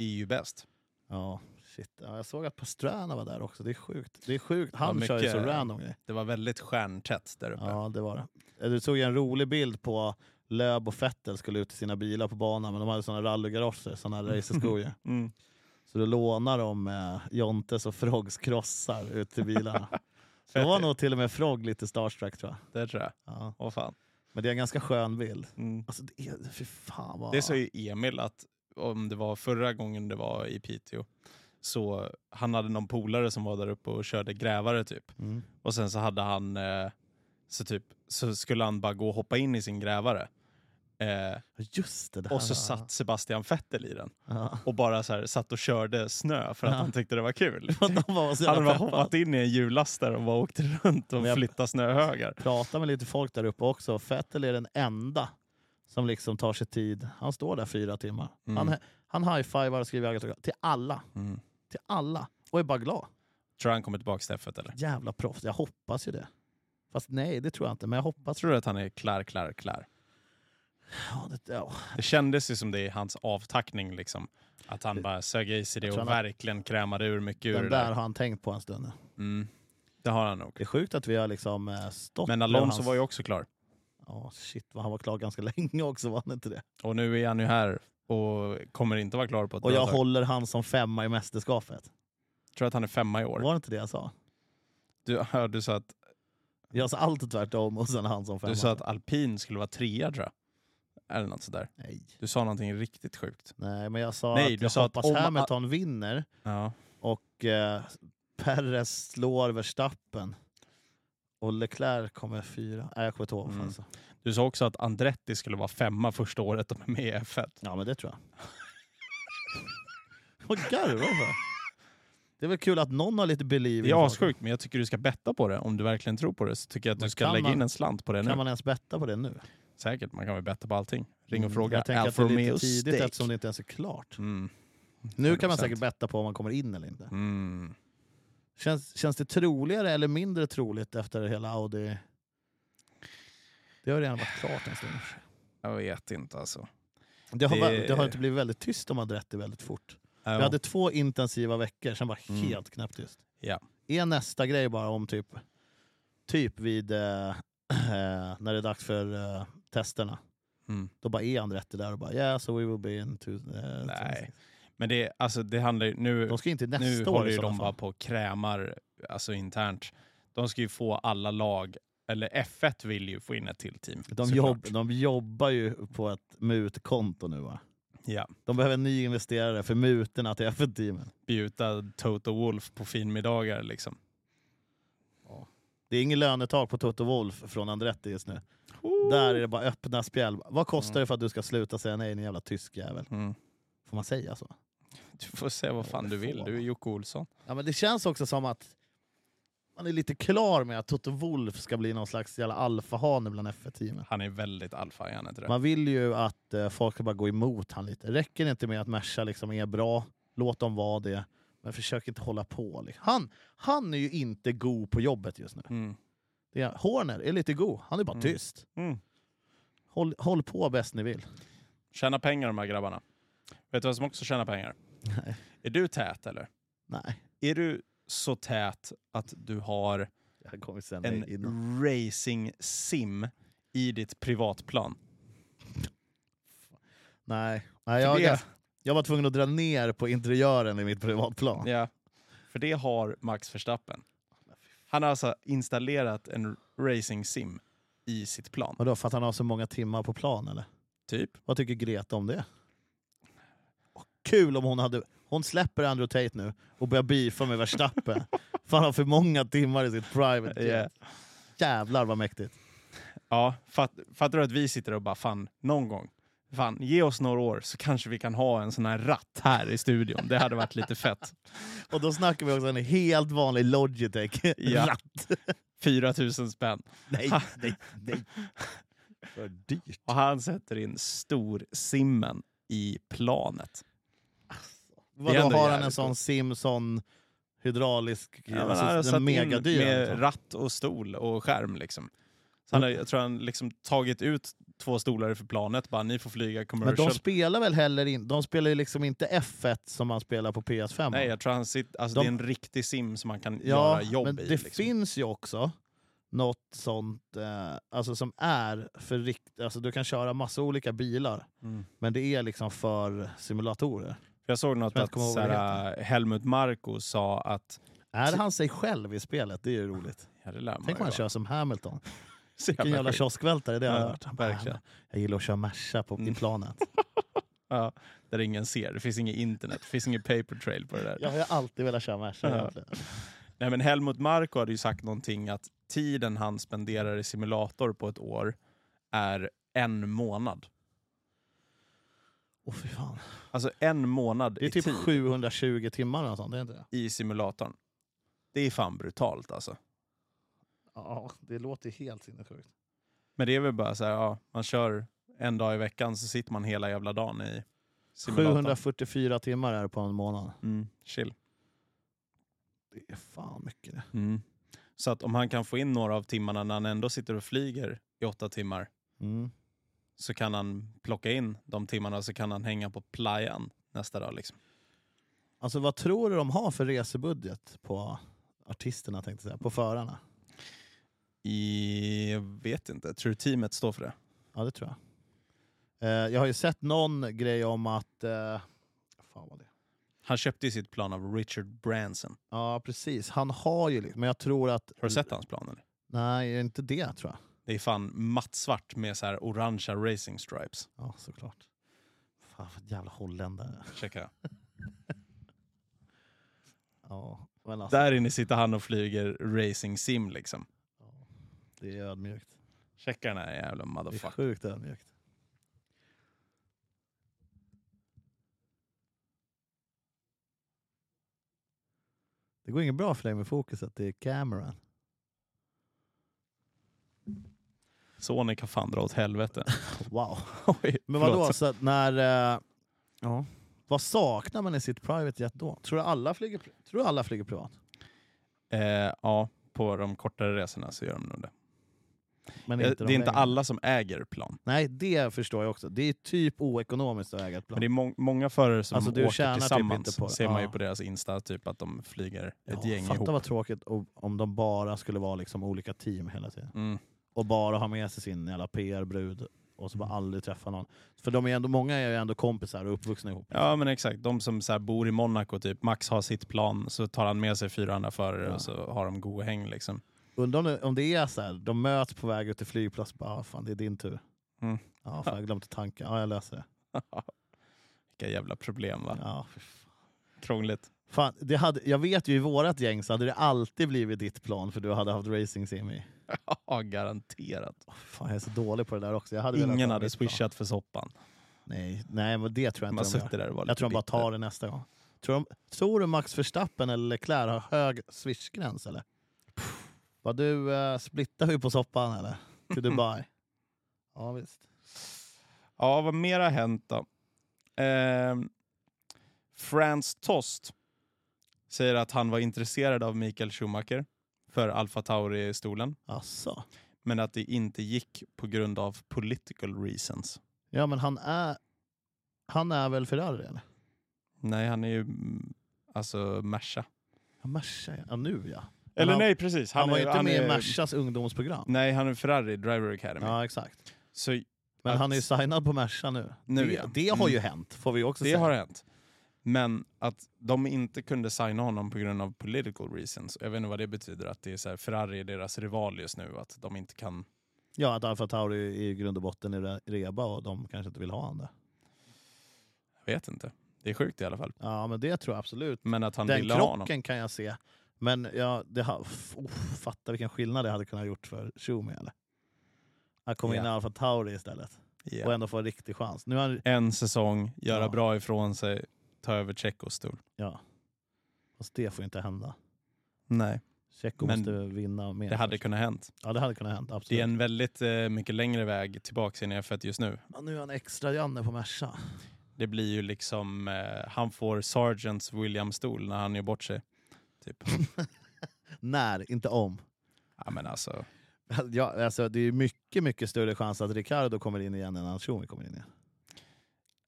är ju bäst. ja shit. Ja, jag såg att Pastrana var där också, det är sjukt. Det är sjukt. Han mycket- kör ju så random grejer. Det var väldigt stjärntätt där uppe. Ja, det var det. Eh, Du såg ju en rolig bild på Löb och Fettel skulle ut i sina bilar på banan, men de hade såna rallygarager, såna racerskor [laughs] ju. Mm. Så då lånar de eh, Jontes och Frogs krossar ut till [laughs] bilarna. Fett Det var ju. nog till och med Frog lite starstruck tror jag. Det tror jag. Ja. Åh fan. Men det är en ganska skön bild. Mm. Alltså, det är, fy fan vad... Det sa ju Emil att om det var förra gången det var i Piteå, så han hade någon polare som var där uppe och körde grävare typ. Mm. Och sen så hade han, eh, så typ, så skulle han bara gå och hoppa in i sin grävare. Eh, Just det, det här och så var- satt Sebastian Vettel i den Ja. [laughs] och bara så här, satt och körde snö för att Ja. han tyckte det [laughs] var kul. De var så Han hade jävla [laughs] bara peppade. hoppat in i en hjullastare och bara åkte runt och Men jag- flyttat snöhögar. Prata med lite folk där uppe också. Fettel är den enda som liksom tar sig tid. Han står där fyra timmar. Mm. Han, han high-fivar och skriver autograf till alla. Mm. Till alla. Och är bara glad. Tror du han kommer tillbaka till F1 eller? Jävla proffs. Jag hoppas ju det. Fast nej, det tror jag inte. Men jag hoppas Tror du att han är klar, klar, klar? Ja, det, ja. Det kändes ju som det i hans avtackning. Liksom. Att han bara sög i sig det Jag tror och han har- verkligen krämade ur mycket ur Den det där har han tänkt på en stund. nu. Mm. Det har han nog. Det är sjukt att vi har liksom eh, stått Men med Alonso hans- var ju också klar. Ja, shit, vad han var klar ganska [laughs] länge också, var han inte det? Och nu är han ju här och kommer inte vara klar på ett Och bra jag tag. håller han som femma i mästerskapet. tror att han är femma i år. Var det inte det jag sa? Du, ja, du, sa att, Jag sa alltid tvärtom och sen han som femma. du sa att alpin skulle vara trea tror jag. Eller något sådär. Nej. Du sa någonting riktigt sjukt. Nej, men jag sa Nej, att du jag sa att hoppas om- Hamilton vinner Ja. och eh, Perez slår Verstappen. Och Leclerc kommer fyra. Nej, jag kommer inte ihåg. alltså. vad fan jag Mm. sa. Du sa också att Andretti skulle vara femma första året de är med i F1. Ja, men det tror jag. [laughs] Vad garvar du för? Det är väl kul att någon har lite believe. Det i är saken. assjukt, men jag tycker du ska betta på det. Om du verkligen tror på det så tycker jag att Men du ska kan lägga man- in en slant på det nu. Kan man ens betta på det nu? Säkert, man kan väl betta på allting. Ring och Mm, fråga. Jag tänker att det Alfa är Romeo lite tidigt Steak. eftersom det inte ens är klart. Mm. Nu kan man 100%. säkert betta på om man kommer in eller inte. Mm. Känns, känns det troligare eller mindre troligt efter hela Audi? Det har redan varit klart en stund. Jag vet inte alltså. Det har, Det- va- det har inte blivit väldigt tyst om Andretti väldigt fort. Vi Ja. hade två intensiva veckor, sen var Mm. helt knäpptyst. Ja. Är nästa grej bara om typ, typ vid eh, [clears throat] när det är dags för eh, testerna? Mm. Då bara är Andretti där och bara yeah, so we will be in two, eh, Nej. Men det, alltså, det handlar ju... Nu, De ska ju inte nästa nu år håller i ju sådana de fall. bara på och krämar alltså, internt. De ska ju få alla lag, eller F1 vill ju få in ett till team. De, såklart. jobb, de jobbar ju på ett mutkonto nu va? Ja. De behöver en ny investerare för mutorna till F1-teamen. Bjuda Toto Wolf på finmiddagar liksom. Det är inget lönetak på Toto Wolf från Andretti just nu. Där är det bara öppna spjäll. Vad kostar det för att du ska sluta säga nej din jävla tysk jävel? Mm. Får man säga så? Du får säga vad Ja, fan det du får vill, man. du är Jocke Olsson. Ja, men det känns också som att man är lite klar med att Toto Wolf ska bli någon slags jävla alfahane bland F1-teamen. Han är väldigt alfa, är han inte det? Man vill ju att eh, folk ska bara gå emot han lite. Räcker det inte med att Merca liksom är bra, låt dem vara det. Men försök inte hålla på. Liksom. Han, han är ju inte god på jobbet just nu. Mm. Det är, Horner är lite god, han är bara Mm. tyst. Mm. Håll, håll på bäst ni vill. Tjäna pengar de här grabbarna. Vet du vad som också tjänar pengar? Nej. Är du tät eller? Nej, Är du så tät att du har jag kommer sen en innan. racing sim i ditt privatplan? Nej, Nej För jag, det, jag var tvungen att dra ner på interiören i mitt privatplan. ja, för det har Max Verstappen. Han har alltså installerat en racing sim i sitt plan. Vadå, för att han har så många timmar på plan eller? Typ. Vad tycker Greta om det? Och Kul om hon hade... Hon släpper Andrew Tate nu och börjar beefa med [laughs] Verstappen. för han har för många timmar i sitt private jet. Yeah. Jävlar vad mäktigt. Eh, Ja, fatt, fattar du att vi sitter och bara fan, någon gång, fan, ge oss några år så kanske vi kan ha en sån här ratt här i studion. Det hade varit lite fett. Och då snackar vi också en helt vanlig Logitech. [laughs] Ja. [laughs] Ratt. 4000 spänn. [laughs] Nej, nej, nej. För dyrt. Och han sätter in stor simmen i planet. Vadå, ändå har han en jävligt sån coolt. Simson hydraulisk... Ja, men alltså, han har den satt är in megadyr. med liksom. Mm. ratt och stol och skärm. Liksom. Så han har, jag tror han liksom tagit ut två stolar för planet, bara ni får flyga Men commercial. de spelar väl heller in, de spelar ju liksom inte F1 som man spelar på PS5? Nej, jag tror han sitter, alltså De- det är en riktig sim som man kan Ja, göra jobb men det i. liksom. finns ju också något sånt eh, alltså som är för rikt... Alltså du kan köra massa olika bilar, Mm. men det är liksom för simulatorer. För jag såg något jag att kommer ihåg vad det såhär, Helmut Marko sa att, Är han sig själv i spelet? Det är ju roligt. ja det lär man Tänk ju om han vara. kör som Hamilton. [laughs] Så Vilken jävla skit. kioskvältare det hade Ja, varit. Han bara, verkligen. Jag gillar att köra Merca på i Mm. [laughs] planet. Ja, där ingen ser, det finns inget internet, det finns ingen paper trail på det där. Jag har ju alltid velat köra Merca Ja. egentligen. Nej, men Helmut Marko hade ju sagt någonting att tiden han spenderar i simulator på ett år är en månad. Åh fy fan. Alltså en månad Det är i typ tid 720 timmar eller något sånt, det är inte det? i simulatorn. Det är fan brutalt alltså. Ja, det låter ju helt sinnessjukt. Men det är väl bara så här, ja, man kör en dag i veckan så sitter man hela jävla dagen i simulatorn. 744 timmar är det på en månad. Mm, chill. Det är fan mycket det. Mm. Mm. Så att om han kan få in några av timmarna när han ändå sitter och flyger i åtta timmar så kan han plocka in de timmarna och så kan han hänga på playan nästa dag. Liksom. Alltså vad tror du de har för resebudget på artisterna tänkte jag säga, på förarna? I, jag vet inte, tror du teamet står för det? Ja det tror jag. Eh, jag har ju sett någon grej om att... Eh, fan vad det? Han köpte ju sitt plan av Richard Branson. Ja precis, han har ju liksom, men jag tror att... Har du sett hans plan? Eller? Nej, inte det tror jag. Det är fan mattsvart med så här orangea racing stripes. Ja såklart. Fan vad jävla holländare. Checka. Alltså. Ja, men alltså, Där inne sitter han och flyger racing sim liksom. det är ödmjukt. Checka den här jävla Det är motherfucker. sjukt ödmjukt. Det går inget bra för dig med fokuset, det är kameran. Sonic har fan dra [laughs] åt helvete. Wow. Oj, Men förlåt. vadå, så att när... eh, ja. Vad saknar man i sitt private jet då? Tror du alla flyger, pri- tror du alla flyger privat? Eh, ja, på de kortare resorna så gör de nog det. Men Eh, det de är inte längre? alla som äger plan. Nej, det förstår jag också. Det är typ oekonomiskt att äga ett Men plan. det är må många förare som Alltså, du tjänar åker typ tillsammans. inte på det. ser man ju Ja. på deras Insta typ att de flyger ett Ja, gäng fatta ihop. vad tråkigt om- om de bara skulle vara liksom olika team hela tiden. Mm. och bara ha med sig sin jävla PR-brud och så bara Mm. aldrig träffa någon. För de är ändå, många är ju ändå kompisar och uppvuxna ihop. Ja men exakt, de som så här bor i Monaco, typ. Max har sitt plan, så tar han med sig fyra andra förare Ja. och så har de god häng. Liksom. Undrar om det, om det är så här, de möts på väg ut till flygplats bara ah, fan det är din tur. Mm. Ja, fan, jag glömde tanka. Ja, jag löser det. Vilka jävla problem va? Ja, för fan. Krångligt. [laughs] Fan, det hade, jag vet ju i vårat gäng så hade det alltid blivit ditt plan för du hade haft racing sim i. Ja, garanterat. Åh, Fan, jag är så dålig på det där också. Jag hade velat Ingen ha hade mitt plan. swishat för soppan. Nej, nej, men det tror jag Man inte de gör. sitter där och var lite Jag tror de bara bitter. tar det nästa gång. Tror, de, tror du Max Verstappen eller Leclerc har hög swishgräns eller? Vad du eh, splittar vi på soppan eller? Till [laughs] Dubai? ja visst. Ja, vad mer har hänt då? Ehm, Franz Tost säger att han var intresserad av Mikael Schumacher för Alfa Tauri-stolen, Asså. men att det inte gick på grund av political reasons. Ja men han är, han är väl Ferrari eller? Nej, han är ju mm, alltså Merca. Ja, Merca, ja nu ja. Men Eller han- nej, precis. Han, var ju är- inte med är- i Mercas ungdomsprogram. Nej, han är Ferrari Driver Academy. Ja exakt. Så Men Att- han är ju signad på Merca nu. Nu, det, ja. det har ju Mm. hänt får vi också det säga. har hänt. Men att de inte kunde signa honom på grund av political reasons. Jag vet inte vad det betyder, att det är så här, Ferrari är deras rival just nu, att de inte kan... Ja att Alfa Tauri i grund och botten är re- reba och de kanske inte vill ha han där. Jag vet inte. Det är sjukt i alla fall. Ja men det tror jag absolut. Men att han Den ville ha honom. krocken kan jag se. Men ja, det ha, f- oh, fatta vilken skillnad det hade kunnat gjort för Schumi. Eller? Att komma in i Ja. Alfa Tauri istället Ja. och ändå få en riktig chans. Nu har han, En säsong, göra Ja. bra ifrån sig, ta över Tjechos stol. ja. Fast det får ju inte hända. Nej. Tjecko Men måste vinna mer. Det hade först. kunnat hänt. ja, det hade kunnat hända. Absolut. Det är en väldigt eh, mycket längre väg tillbaka in i F1 just nu. Ja, nu är han extra Janne på Merca. Det blir ju liksom, eh, han får Sargents Williams-stol när han gör bort sig. [laughs] Typ. När, inte om. [laughs] ja, men alltså, Ja, alltså, det är ju mycket, mycket större chans att Ricardo kommer in igen än att Schumi kommer in igen.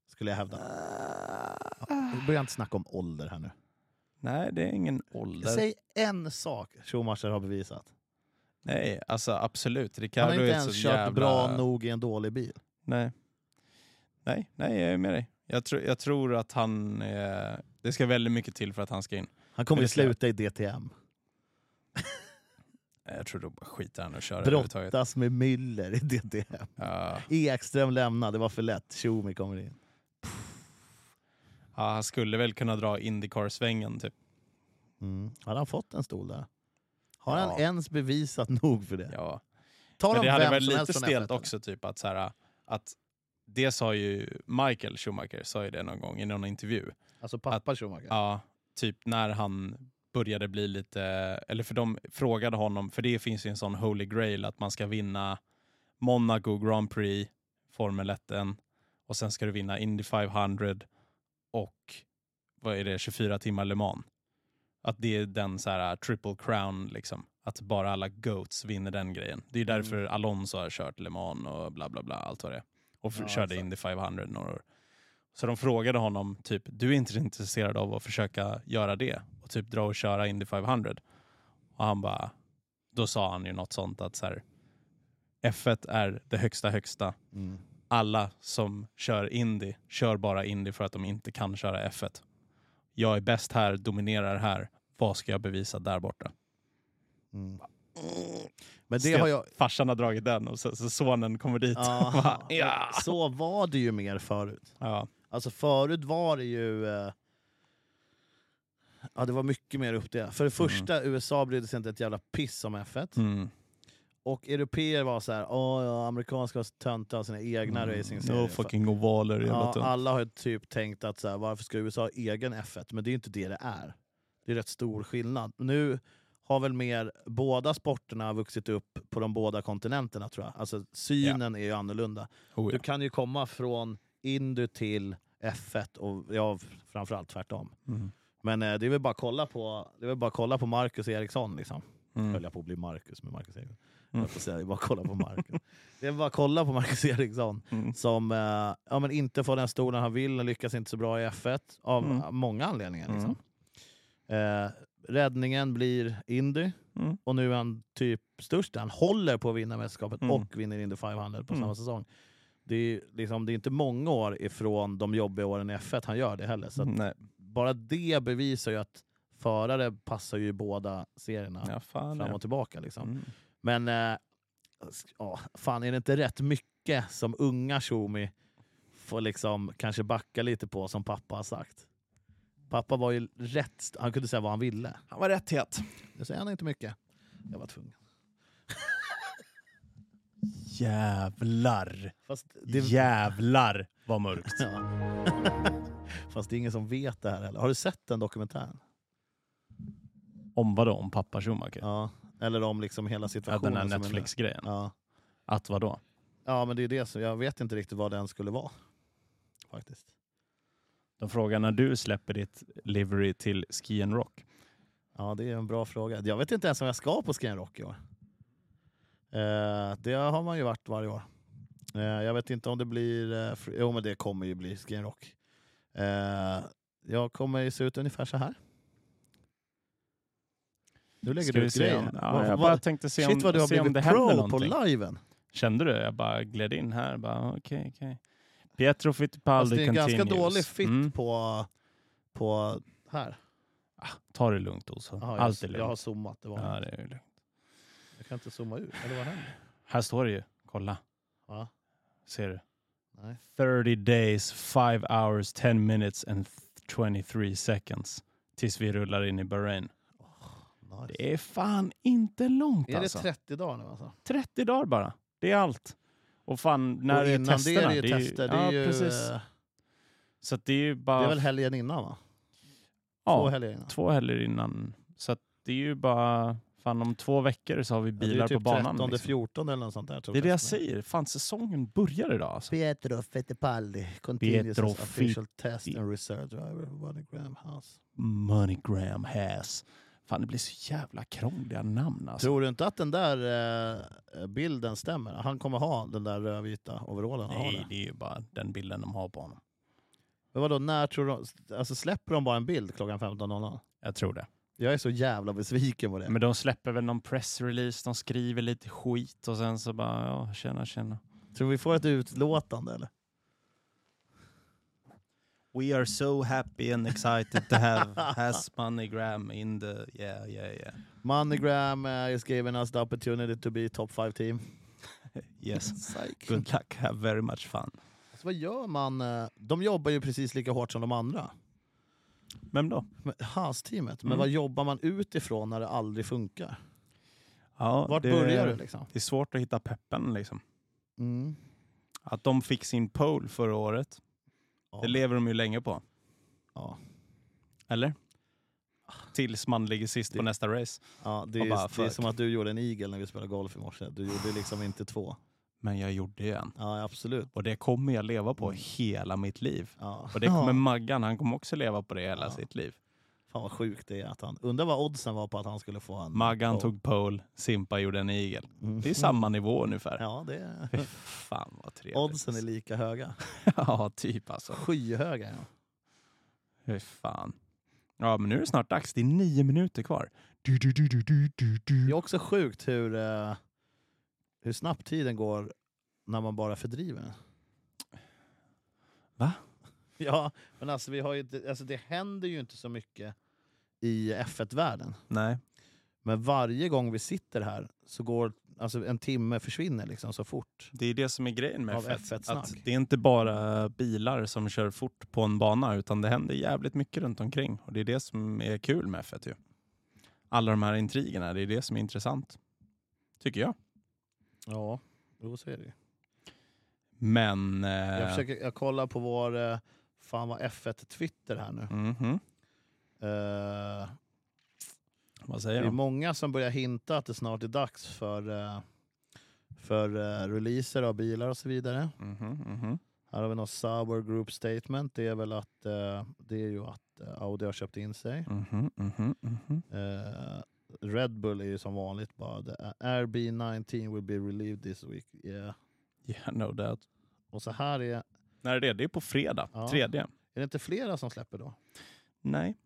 Skulle jag hävda. Ja, vi börjar inte snacka om ålder här nu. nej det är ingen ålder. Säg en sak Schumacher har bevisat. Nej, alltså absolut. Han Ricardo har inte är ett ens så kört jävla... bra nog i en dålig bil. Nej. Nej, nej, jag är med dig. Jag, tror- jag tror att han... Eh, det ska väldigt mycket till för att han ska in. Han kommer Men det att ska jag. sluta i DTM. Eh, Jag tror då bara skiter han och kör överhuvudtaget. Brottas med Müller i DTM. Ja, [laughs] Ekström lämnar, det var för lätt. Schumi kommer in. Ja, han skulle väl kunna dra Indycar-svängen typ. Mm. Har han fått en stol där? Har han Ja. ens bevisat nog för det? Ja. Tar Men de det hade vem varit som helst lite från F1, stelt eller? också, typ att, så här, att det sa ju Michael Schumacher sa ju det någon gång i någon intervju. Alltså pappa Schumacher. Ja, typ när han började bli lite, eller för de frågade honom, för det finns ju en sån holy grail att man ska vinna Monaco Grand Prix, Formel 1 och sen ska du vinna Indy 500 och vad är det, 24 timmar Le Mans. Att det är den så här triple crown liksom. Att bara alla goats vinner den grejen. Det är därför Alonso har kört Le Mans och bla bla bla allt vad det är. och för, Ja, körde exakt. Indy 500 några år. Så de frågade honom typ, du är inte intresserad av att försöka göra det och typ dra och köra Indy 500? Och han bara, då sa han ju något sånt att så här, F1 är det högsta högsta. Mm. Alla som kör Indy kör bara Indy för att de inte kan köra F1. Jag är bäst här, dominerar här. Vad ska jag bevisa där borta? Mm. Men det Sten- har jag... Farsan har dragit den och så, så sonen kommer dit. och [laughs] bara, Aha. ja. Så var det ju mer förut. ja. Alltså förut var det ju... Eh... Ja, det var mycket mer uppdelat. För det första, USA brydde sig inte ett jävla piss om F1. Mhm. Mm. Och europeer var så här, "Åh, ja, amerikanska var så töntiga av sina egna Mm. racingserier. No fucking ovaler. ja, Ja, alla har ju typ tänkt att så här, varför ska USA ha egen F1? Men det är ju inte det det är. Det är rätt stor skillnad. Nu har väl mer båda sporterna vuxit upp på de båda kontinenterna tror jag. Alltså synen är ju annorlunda. oh, Du ja. kan ju komma från Indy till F1 och ja, framförallt tvärtom. Mm. Men eh, det är väl bara att kolla på, det är väl bara att kolla på Marcus Eriksson liksom höll Mm. jag på att bli Marcus med Marcus Eriksson. Mm. Jag får säga, det är bara att kolla på Marcus. [laughs] det är bara att kolla på Marcus Eriksson Mm. som eh, ja, men inte får den stolen han vill, lyckas inte så bra i F1 av Mm. många anledningar. Mm. Liksom. Eh, räddningen blir Indy Mm. och nu är han typ störst. Han håller på att vinna mästerskapet Mm. och vinner Indy 500 på Mm. samma säsong. Det är, ju liksom, det är inte många år ifrån de jobbiga åren i F1 han gör det heller. Så att Nej, Bara det bevisar ju att förare passar ju i båda serierna ja, fan, fram ja. och tillbaka. Liksom. Mm. Men eh, sk- ja, fan är det inte rätt mycket som unga Shomi får liksom kanske backa lite på som pappa har sagt? Pappa var ju rätt, st- han kunde säga vad han ville. Han var rätt het. Nu säger han inte mycket. Jag var tvungen. Jävlar. Fast det, Jävlar vad mörkt. [laughs] ja. [laughs] Fast det är ingen som vet det här heller. Har du sett den dokumentären? Om vadå? Om pappa Schumacher? Ja, Ja. Eller om liksom hela situationen. den här som är nu. Netflix-grejen. Ja. Att vadå? ja, men det är det. Så jag vet inte riktigt vad den skulle vara. Faktiskt. De frågar när du släpper ditt livery till Ski and Rock. Ja, det är en bra fråga. Jag vet inte ens om jag ska på Scan Rock i år. Eh, det har man ju varit varje år. Eh, jag vet inte om det blir... Eh, fr- jo, men det kommer ju bli Scan Rock. Eh, jag kommer ju se ut ungefär så här. Nu lägger Ska du vi ut se om, grejer. ja, Vad- jag vad- bara tänkte se om, shit vad du har se om det blivit händer pro på någonting. liven. Kände du? Jag bara gled in här. Bara, okej, okej. Pietro Alltså, Fittipaldi det är en continues. ganska dålig fit Mm. på, på här. Ah, Ta det lugnt Olsson. Jaha, jag, Allt är jag har lugnt. zoomat. Det var Ja, ja. det är lugnt. Jag kan inte zooma ut. Eller vad händer? Här står det ju. Kolla. Ja, Ser du? nej. 30 days, 5 hours, 10 minutes and 23 seconds. Tills vi rullar in i Bahrain. Nice. Det är fan inte långt Är det alltså. 30 dagar nu alltså? 30 dagar bara. Det är allt. Och fan, när och är innan det testerna? är det ju tester. Det är, ja, ju, precis. eh, Så att det är ju bara det är väl helgen innan va? Två ja, helger innan. två helger innan. Så att det är ju bara, fan om två veckor så har vi Ja, bilar det är typ på banan. 13, liksom. 14 eller något sånt där. tror Det är det jag testerna. säger. Fan, säsongen börjar idag alltså. Pietro Fittipaldi, continuous Pietro as official test Fitti- and reserve driver, Ronnie Graham House. Moneygram has. Fan, det blir så jävla krångliga namn alltså. Tror du inte att den där eh, bilden stämmer? Han kommer ha den där rödvita overallen. han har Nej, det. det är ju bara den bilden de har på honom. Men vadå, när tror de, alltså släpper de bara en bild klockan 15.00? Jag tror det. Jag är så jävla besviken på det. Men de släpper väl någon pressrelease, de skriver lite skit och sen så bara, ja, tjena, tjena. Tror vi får ett utlåtande eller? We are so happy and excited to have [laughs] has Moneygram in the, yeah, yeah, yeah. Moneygram eh, is giving us the opportunity to be top 5 team. Yes. [laughs] Psych. Good luck, have very much fun. Alltså, vad gör man? eh, De jobbar ju precis lika hårt som de andra. Vem då? Men- Haas-teamet. Men Mm. vad jobbar man utifrån när det aldrig funkar? Ja, Vart börjar du liksom? Det är svårt att hitta peppen liksom. Mm. Att de fick sin pole förra året, Ja. det lever de ju länge på. Ja. Eller? Tills man ligger sist på Det- nästa race. Ja, det, Och är, bara, det är fuck. som att du gjorde en igel när vi spelade golf i morse. Du gjorde liksom inte två. Men jag gjorde ju en. Ja, absolut. Och det kommer jag leva på hela mitt liv. Ja. Och det kommer Ja. Maggan, han kommer också leva på det hela Ja. sitt liv. Fan vad sjukt det är att han... Undrar vad oddsen var på att han skulle få en... Maggan pole. tog pole, Simpa gjorde en igel. Mm. Det är samma nivå ungefär. Ja, det [laughs] är... Fy fan vad trevligt. Oddsen [laughs] är lika höga. Ja, typ alltså. Skyhöga. Ja. Fy fan. Ja, men nu är det snart dags. Det är nio minuter kvar. Du, du, du, du, du, du, du. Det är också sjukt hur, eh, hur snabbt tiden går när man bara fördriver. Va? [laughs] Ja, men alltså, vi har ju, inte- alltså det händer ju inte så mycket i F1-världen. Nej. Men varje gång vi sitter här så går alltså en timme försvinner liksom så fort. Det är det som är grejen med Av F1. F1-snack. att det är inte bara bilar som kör fort på en bana, utan det händer jävligt mycket runt omkring. Och det är det som är kul med F1 ju. Alla de här intrigerna, det är det som är intressant. Tycker jag. Ja, jo, så är det ju. Men... Eh, Jag, försöker, jag kollar på vår eh, fan vad F1-Twitter här nu. mhm. Eh, Vad Det säger är de? många som börjar hinta att det snart är dags för, eh, för eh, releaser av bilar och så vidare. Mhm, mhm. Här har vi något Sauber Group Statement. Det är väl att, eh, det är ju att eh, Audi har köpt in sig. Mhm, mhm, mhm. Eh, Red Bull är ju som vanligt bara det är RB19 will be relieved this week. Yeah. Yeah, no doubt. Och så här är, är När är det? Det är på fredag, Ja. tredje. det inte flera som släpper då? Nej.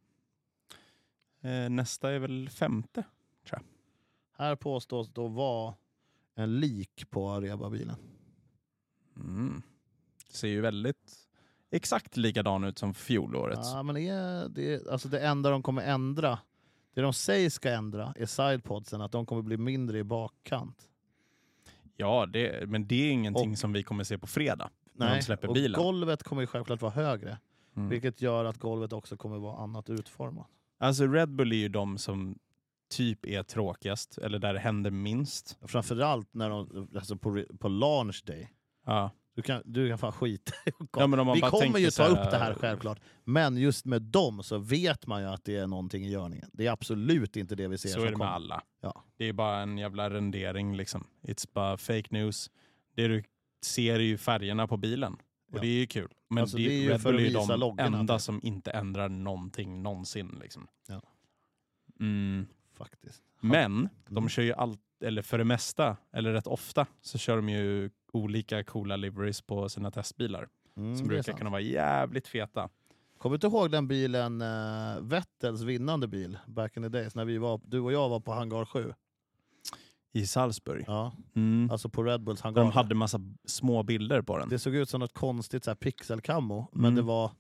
Eh, nästa är väl femte. Här påstås då vara en lik på Areba-bilen. Mm. Ser ju väldigt exakt likadan ut som fjolårets. Ja, men är det, alltså det enda de kommer ändra, det de säger ska ändra är sidepodsen, att de kommer bli mindre i bakkant. Ja, det, men det är ingenting som vi kommer se på fredag. När de släpper och bilen. golvet kommer ju självklart vara högre, Mm. vilket gör att golvet också kommer vara annat utformat. Alltså Red Bull är ju de som typ är tråkigast, eller där det händer minst. Framförallt när de, alltså på, re- på launch day. Ja. Du kan, du kan fan skita i att kolla. Ja, men om man Vi bara kommer tänker ju så ta upp det här självklart, men just med dem så vet man ju att det är någonting i görningen. Det är absolut inte det vi ser. Så som är det med kommer. alla. Ja. Det är bara en jävla rendering liksom. It's bara fake news. Det du ser är ju färgerna på bilen. Och Ja. det är ju kul. Men Alltså, det, det är ju Red för Bull att är ju visa de loggorna, enda typ. som inte ändrar någonting någonsin. Liksom. Ja. Mm. Faktiskt. Men de Mm. kör ju allt, eller för det mesta, eller rätt ofta, så kör de ju olika coola liveries på sina testbilar. Mm, det som är brukar sant. kunna vara jävligt feta. Kommer du inte ihåg den bilen, uh, Vettels vinnande bil, back in the days, när vi var, du och jag var på Hangar 7? I Salzburg. Ja. Mm. Alltså på Red Bulls Där hangar. de hade massa små bilder på den. Det såg ut som något konstigt så här pixelkammo, men Mm. det var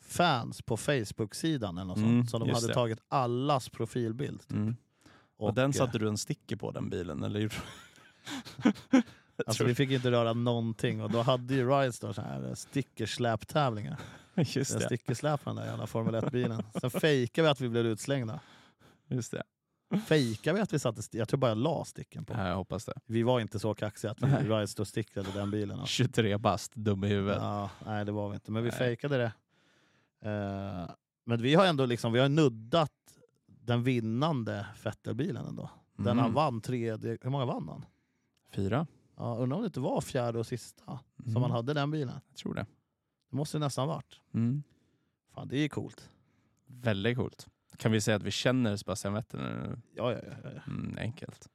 fans på Facebook-sidan eller något Mm, sånt, som de just hade det. tagit allas profilbild. Mm. Och, Och, den eh, satte du en sticker på den bilen, eller gjorde Jag alltså, tror- vi fick inte röra någonting och då hade ju Rise då så här eh, stickersläptävlingar. [laughs] Just Den det. stickersläparen där jävla Formel 1-bilen. Sen fejkade vi att vi blev utslängda. Just det. Fejkade vi att vi satte, sti- jag tror bara jag la sticken på. Ja, jag hoppas det. Vi var inte så kaxiga att vi Nej. Rise och stickade den bilen. Alltså. 23 bast, dum i huvudet. Ja, nej, det var vi inte, men vi Nej. fejkade det. Eh, men vi har ändå liksom, vi har nuddat den vinnande Vettel-bilen ändå. Den Mm. han vann tredje, hur många vann han? Fyra? Ja, undrar om det inte var fjärde och sista Mm. som han hade den bilen. Jag tror det. Det måste det nästan varit. Mm. Fan, det är ju coolt. Väldigt coolt. Kan vi säga att vi känner Sebastian Vettel nu? Ja, ja, ja. ja, ja. Mm, enkelt.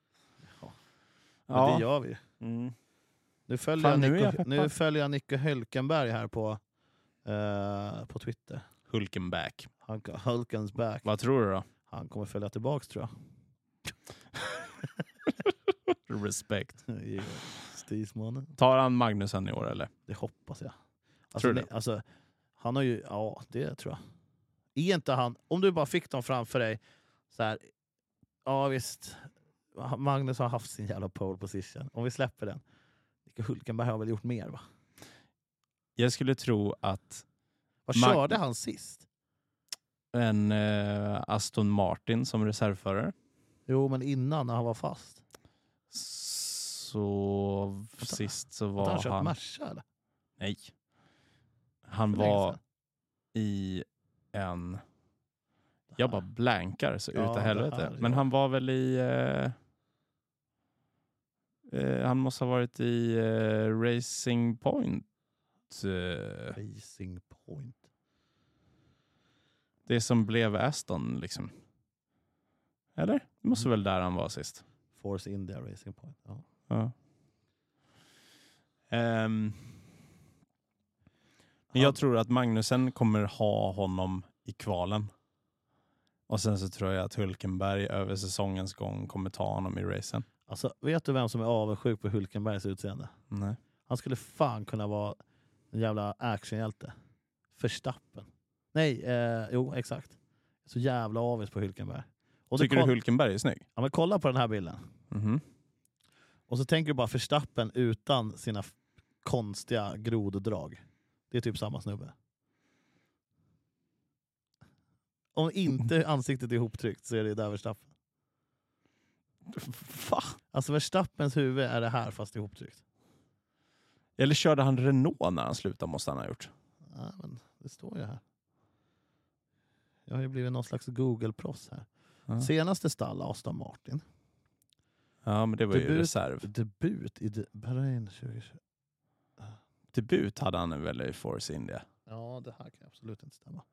Ja. Men Ja. det gör vi ju. Mm. Nu följer, Fan, jag, nu är Nico, jag peppad. nu följer jag Nico Hölkenberg här på, eh, på Twitter. Hulkenback. Han, Hulkens back. Vad tror du då? Han kommer följa tillbaks tror jag. Respekt. Jo, Stismannen. Tar han Magnusen i år eller? Det hoppas jag. Alltså, Tror du nej, alltså, han har ju, ja det tror jag. Är inte han, om du bara fick dem framför dig, så här, ja visst, Magnus har haft sin jävla pole position. Om vi släpper den, Micke Hulkenberg har väl gjort mer va? Jag skulle tro att Vad Mag- körde han sist? en eh, Aston Martin som reservförare Jo men innan när han var fast. så sist så Har var han kört han... Merca eller? Nej. Han För länge var sedan. i en... Jag bara blankar så Ja, utav det helvete. här, Men ja. han var väl i... Eh, eh, han måste ha varit i eh, Racing Ah, Point. Eh, Racing Point. det det som blev Aston liksom. Eller? Det måste väl där han var sist. Force India Racing Point. Ja. Ja. Ehm, men jag tror att Magnusen kommer ha honom i kvalen. Och sen så tror jag att Hulkenberg över säsongens gång kommer ta honom i racen. Alltså, vet du vem som är avundsjuk på Hulkenbergs utseende? Nej. Han skulle fan kunna vara en jävla actionhjälte. Förstappen. Nej, eh, jo exakt. Så jävla avis på Hulkenberg. Och så Tycker du koll- Hulkenberg är snygg? ja, men kolla på den här bilden. Mhm. Och så tänker du bara Förstappen utan sina f- konstiga groddrag. Det är typ samma snubbe. Om inte ansiktet är ihoptryckt så är det där Verstappen. Va? Alltså Verstappens huvud är det här fast ihoptryckt. Eller körde han Renault när han slutade måste han ha gjort. Ja, men det står ju här. Jag har ju blivit någon slags Google-proffs här. Ja. Senaste stall Aston Martin. Ja, men det var ju Debut. reserv. Debut i de- Bahrain 2020. Debut hade han väl i Force India. Ja, det här kan absolut inte stämma.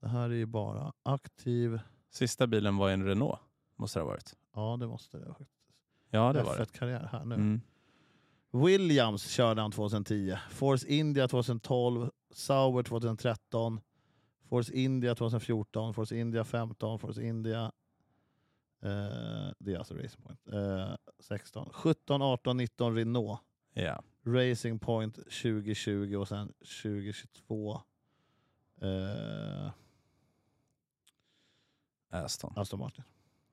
Det här är ju bara aktiv. Sista bilen var en Renault, måste det ha varit. Ja, det måste det. Ja, Ja, det det var det. karriär här nu. Mm. Williams körde han 2010, Force India 2012, Sauber 2013, Force India 2014, Force India 15, Force India... Eh, det är alltså Racing Point. Eh, 16. 17, 18, 19 Renault. Ja. Racing Point 2020 och sen 2022 eh, Aston. Aston Martin.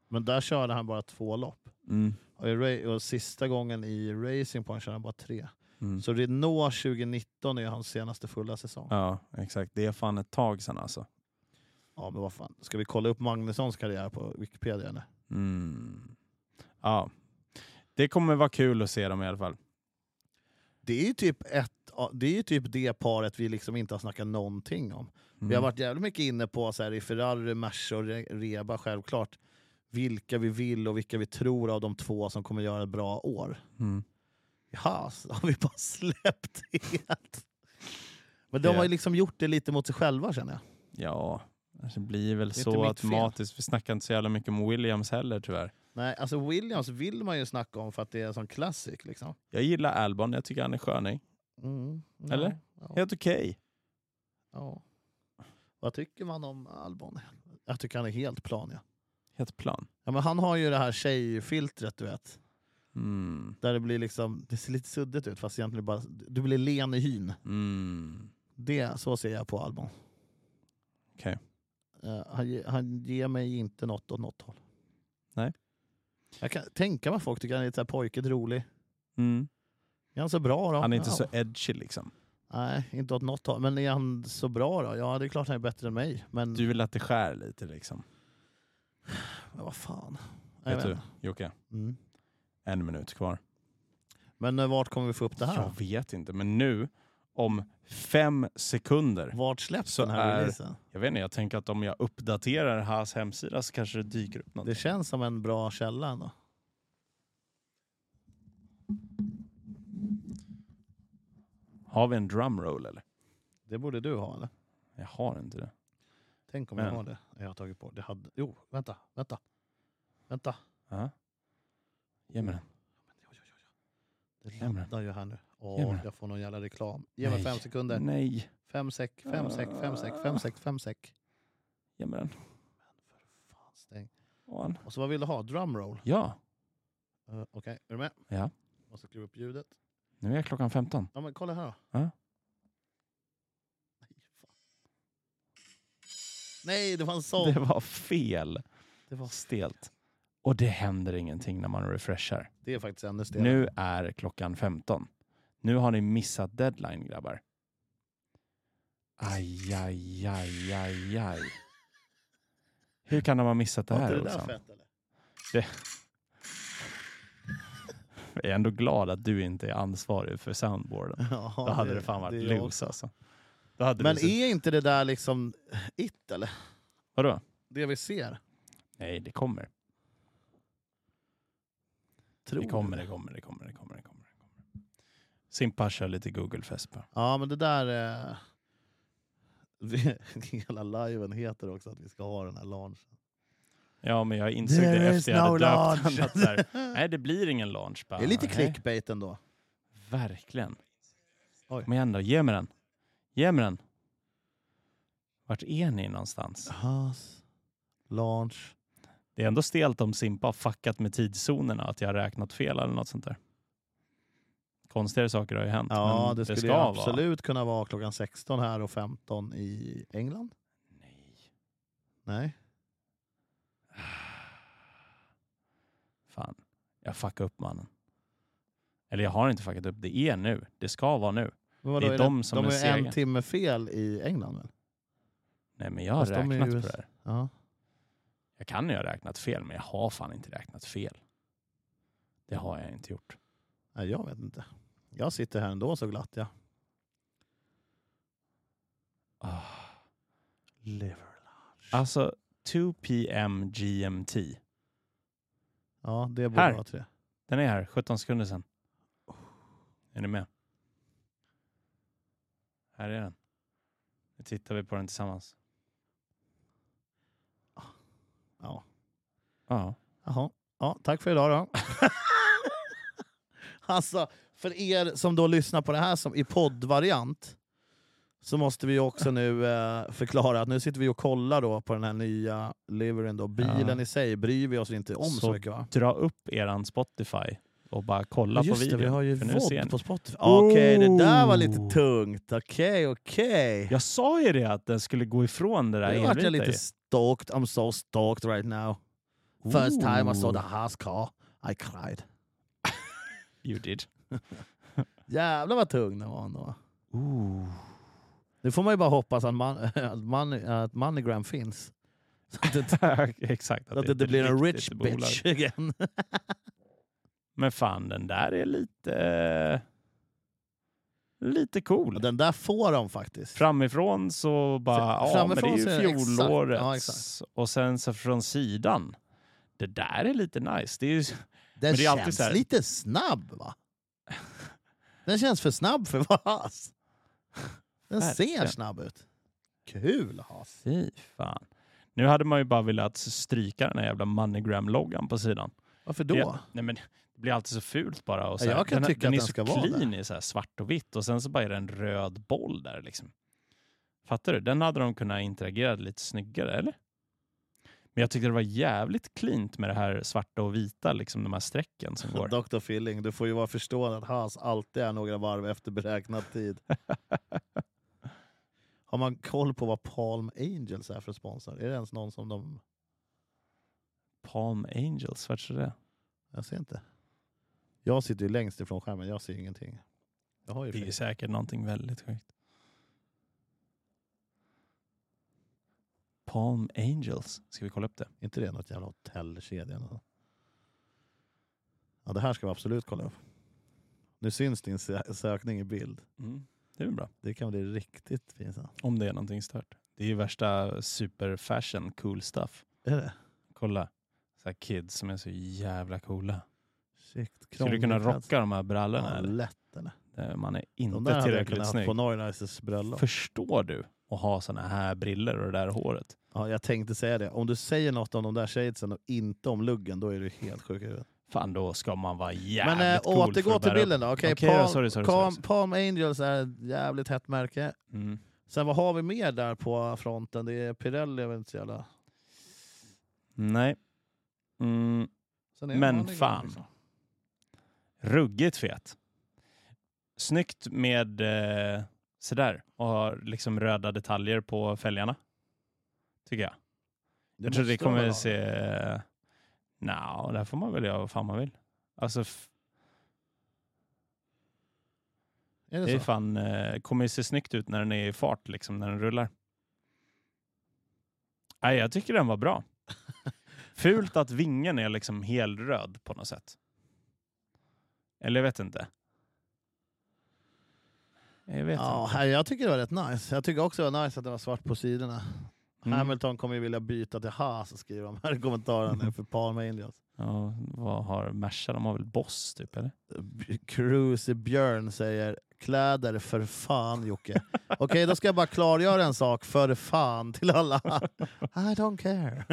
Men där körde han bara två lopp. Mm. Och, i, ra- och sista gången i Racing Point körde han bara tre. Mm. Så Renault 2019 är hans senaste fulla säsong. Ja. Ja, exakt. Det är fan ett tag sedan alltså. men vad fan. Ska vi kolla upp Magnussons karriär på Wikipedia eller? Mm. Ja. Det kommer vara kul att se dem i alla fall. Det är ju typ, ett, a- det, är ju typ det paret vi liksom inte har snackat någonting om. Mm. Vi har varit jävligt mycket inne på så här, i Ferrari, Merca och Re- Reba självklart. Vilka vi vill och vilka vi tror av de två som kommer göra ett bra år. Mm. I Haas har vi bara [laughs] släppt helt. Men de har ju liksom gjort det lite mot sig själva känner jag. Ja, alltså, det blir väl Det är så inte mitt fel. automatiskt. Vi snackar inte så jävla mycket om Williams heller tyvärr. Nej, alltså Williams vill man ju snacka om för att det är en sån classic liksom. Jag gillar Albon, jag tycker han är sköning. Mm, ja, Eller? Ja, Helt okej. ja. Vad tycker man om Albon? Jag tycker han är helt plan. Ja. Helt plan. Ja, men han har ju det här tjejfiltret du vet. Mm. Där det blir liksom, det ser lite suddigt ut fast egentligen bara, du blir len i hyn. Mm. Det, så ser jag på Albon. Okej. Eh, han, ge- han ger mig inte något åt något håll. Nej. Jag kan tänka mig att folk tycker han är lite så här pojkigt rolig. Mm. Är han så bra då? Han är inte ja. så edgy liksom. Nej, inte åt något håll. Men är han så bra då? Ja, det är klart han är bättre än mig. Men Du vill att det skär lite liksom. Men vad fan. Jag Vet vet du, inte. Jocke? Mm. En minut kvar. Men eh, vart kommer vi få upp det här? Jag vet inte, men nu om fem sekunder. Vart släpps Så den här är- releasen? Jag vet inte, jag tänker att om jag uppdaterar Haas hemsida så kanske det dyker upp något. Det känns som en bra källa ändå. Har vi en drumroll eller? Det borde du ha eller? Jag har inte det. Tänk om Men- jag har det. Jag har tagit bort det. Hade... Jo, vänta, vänta. Vänta. Ja. Ge mig den. Det Ge mig den. laddar ju här nu. Ge mig Åh, den. jag får någon jävla reklam. Ge mig Nej. fem sekunder. Nej, Fem sek, fem sek, fem sek, fem sek, fem sek. ge mig den. Fan, stäng. Och en. Och så vad vill du ha? Drumroll? Ja, Uh, Okej, är du med? Ja. Måste skruva upp ljudet. nu är klockan 15. Ja men kolla här då. Ja. Nej, fan. Nej, det var en sång. Det var fel. Det, var... Stelt. Och det händer ingenting när man refreshar. det är faktiskt ännu stelare. Nu är klockan 15. Nu har ni missat deadline, grabbar. Aj, aj, aj, aj, aj. Hur kan de ha missat det Var här, inte det där Olsson? fett eller? Jag är ändå glad att du inte är ansvarig för soundboarden. Ja, Då hade det fan varit är jag loose också. alltså. Då hade Men du suttit- är inte det där liksom it eller? Vadå? Det vi ser? Nej, det kommer. Tror Det kommer, det kommer, det kommer, det kommer. Det kommer. det kommer. Simpa kör lite Google-fest bara. Ja men det där... Eh... [laughs] hela liven heter också att vi ska ha den här launchen. Ja, men jag insåg det efter jag hade döpt den. Att så här, [laughs] nej, det blir ingen launch. Bara, det är lite nej, clickbait ändå. Verkligen. Oj. Kom igen då, ge mig den. Ge mig den. Vart är ni någonstans? Has, launch. Det är ändå stelt om Simpa har fuckat med tidszonerna, att jag har räknat fel eller något sånt där. Konstigare saker har ju hänt. Ja, men det skulle ska ju vara- absolut kunna vara klockan 16 här och 15 i England. Nej. Nej. [sighs] Fan, jag fuckade upp mannen. Eller jag har inte fuckat upp, det är nu. Det ska vara nu. Men Det är de som de är är en sega. timme fel i England väl? Nej, men jag har Fast de är räknat i på US. det här. Ja. Jag kan ju ha räknat fel, men jag har fan inte räknat fel. Det har jag inte gjort. Nej, jag vet inte. Jag sitter här ändå så glatt ja. Ah. Alltså, 2 p.m. GMT. Ja, det borde Här. vara tre. Den är här, 17 sekunder sedan. Är ni med? Här är den. Nu tittar vi på den tillsammans. Ja. Ja. Jaha. Ja, tack för idag då. [laughs] alltså, för er som då lyssnar på det här som i poddvariant så måste vi ju också nu eh, förklara att nu sitter vi och kollar då på den här nya liveren. Då. Bilen Ja. i sig bryr vi oss inte om så, Så mycket va? Dra upp eran Spotify och bara kolla Men Just det, på videon. vi har ju för nu ser ni. VOD på Spotify. Ah, Okej, det där var lite Oh. tungt. Okej, okej. Jag sa ju det att den skulle gå ifrån det Nu där vart envita jag lite i. stoked. I'm so stoked right now. First time I saw the house car, I cried. You did. Jävlar vad tung den var ändå. [laughs] Nu får man ju bara hoppas att, man, [laughs] att, man, att Moneygram finns. Så att det, Exakt. så att är det, det ett blir en rich riktigt bolag. bitch [laughs] igen. Men fan, den där är lite... eh, Lite cool. Den där får de faktiskt. Framifrån så bara, Fra- ja men det framifrån så är är ju det exakt- fjolårets. ja, exakt. Och sen så från sidan. Det där är lite nice. Det är ju, Den men det är alltid känns så här- lite snabb [laughs] va? Den känns för snabb för [laughs] att vara has. Den ser Verkligen. snabb ut. Kul has. fy fan. Nu hade man ju bara velat stryka den här jävla MoneyGram-loggan på sidan. Varför då? Det, nej men, det blir alltid så fult bara. Och så här, Jag kan den, tycka den att är den ska så vara clean i så här svart och vitt och sen så bara är det en röd boll där liksom. Fattar du? Den hade de kunnat interagera lite snyggare, eller? Men jag tyckte det var jävligt cleant med det här svarta och vita, liksom de här strecken [laughs] som går. Dr. Filling, du får ju vara förstående att Haas alltid är några varv efter beräknad [laughs] tid. Har man koll på vad Palm Angels är för sponsor? Är det ens någon som de... Palm Angels, vart är det? Jag ser inte. Jag sitter ju längst ifrån skärmen, jag ser ingenting. Jag har ju Det är ju fel. säkert någonting väldigt sjukt. Palm Angels, ska vi kolla upp det? inte det något jävla hotellkedja? eller något? Ja, det här ska vi absolut kolla upp. Nu syns din sö- sökning i bild. Det är väl bra. Det kan bli riktigt pinsamt. Om det är någonting stört. Det är ju värsta superfashion cool stuff. Är det? Kolla. Så här kids som är så jävla coola. Shit, Skulle du kunna krånglig plats. rocka de här brallorna? Ja, eller? lätt. Eller? Eh, Man är De där inte hade jag tillräckligt kunnat haft på snygg. Neuralizers bröllop. Förstår du att ha såna här briller och det där håret? Ja, jag tänkte säga det. Om du säger något om de där shadesen och inte om luggen, då är du helt sjuk i huvudet. Fan, då ska man vara jävligt Men eh, cool för återgå att till bära upp. bilden då. Okej, Okej, Palm, ja, sorry, sorry, Palm, sorry. Palm Angels är ett jävligt hett märke. Mm. Sen vad har vi mer där på fronten? Det är Pirelli, är väl inte så jävla... Nej. Mm. Sen är det Men en annan fan. grej, liksom. Ruggigt fet. Snyggt med eh, sådär och har liksom röda detaljer på fälgarna. Tycker jag. jag tror det måste de väl kommer ha. se... eh, Nja, där får man väl göra vad fan man vill. Alltså, f- Är det är det så? fan, eh, kommer ju se snyggt ut när den är i fart, liksom, när den rullar. Nej, jag tycker den [laughs] var bra. Fult att vingen är liksom helröd på något sätt. Eller jag vet inte. Jag vet Ja, inte. här, jag tycker det var rätt nice. Jag tycker också det var nice att det var svart på sidorna. Mm. Hamilton kommer ju vilja byta till Haas, skriver de här i kommentarerna för Palm Angels. Ja, vad har Merca? De har väl Boss typ eller? B- Cruise Björn säger kläder för fan [laughs] Jocke. Okej, då ska jag bara klargöra en sak för fan till alla. I don't care.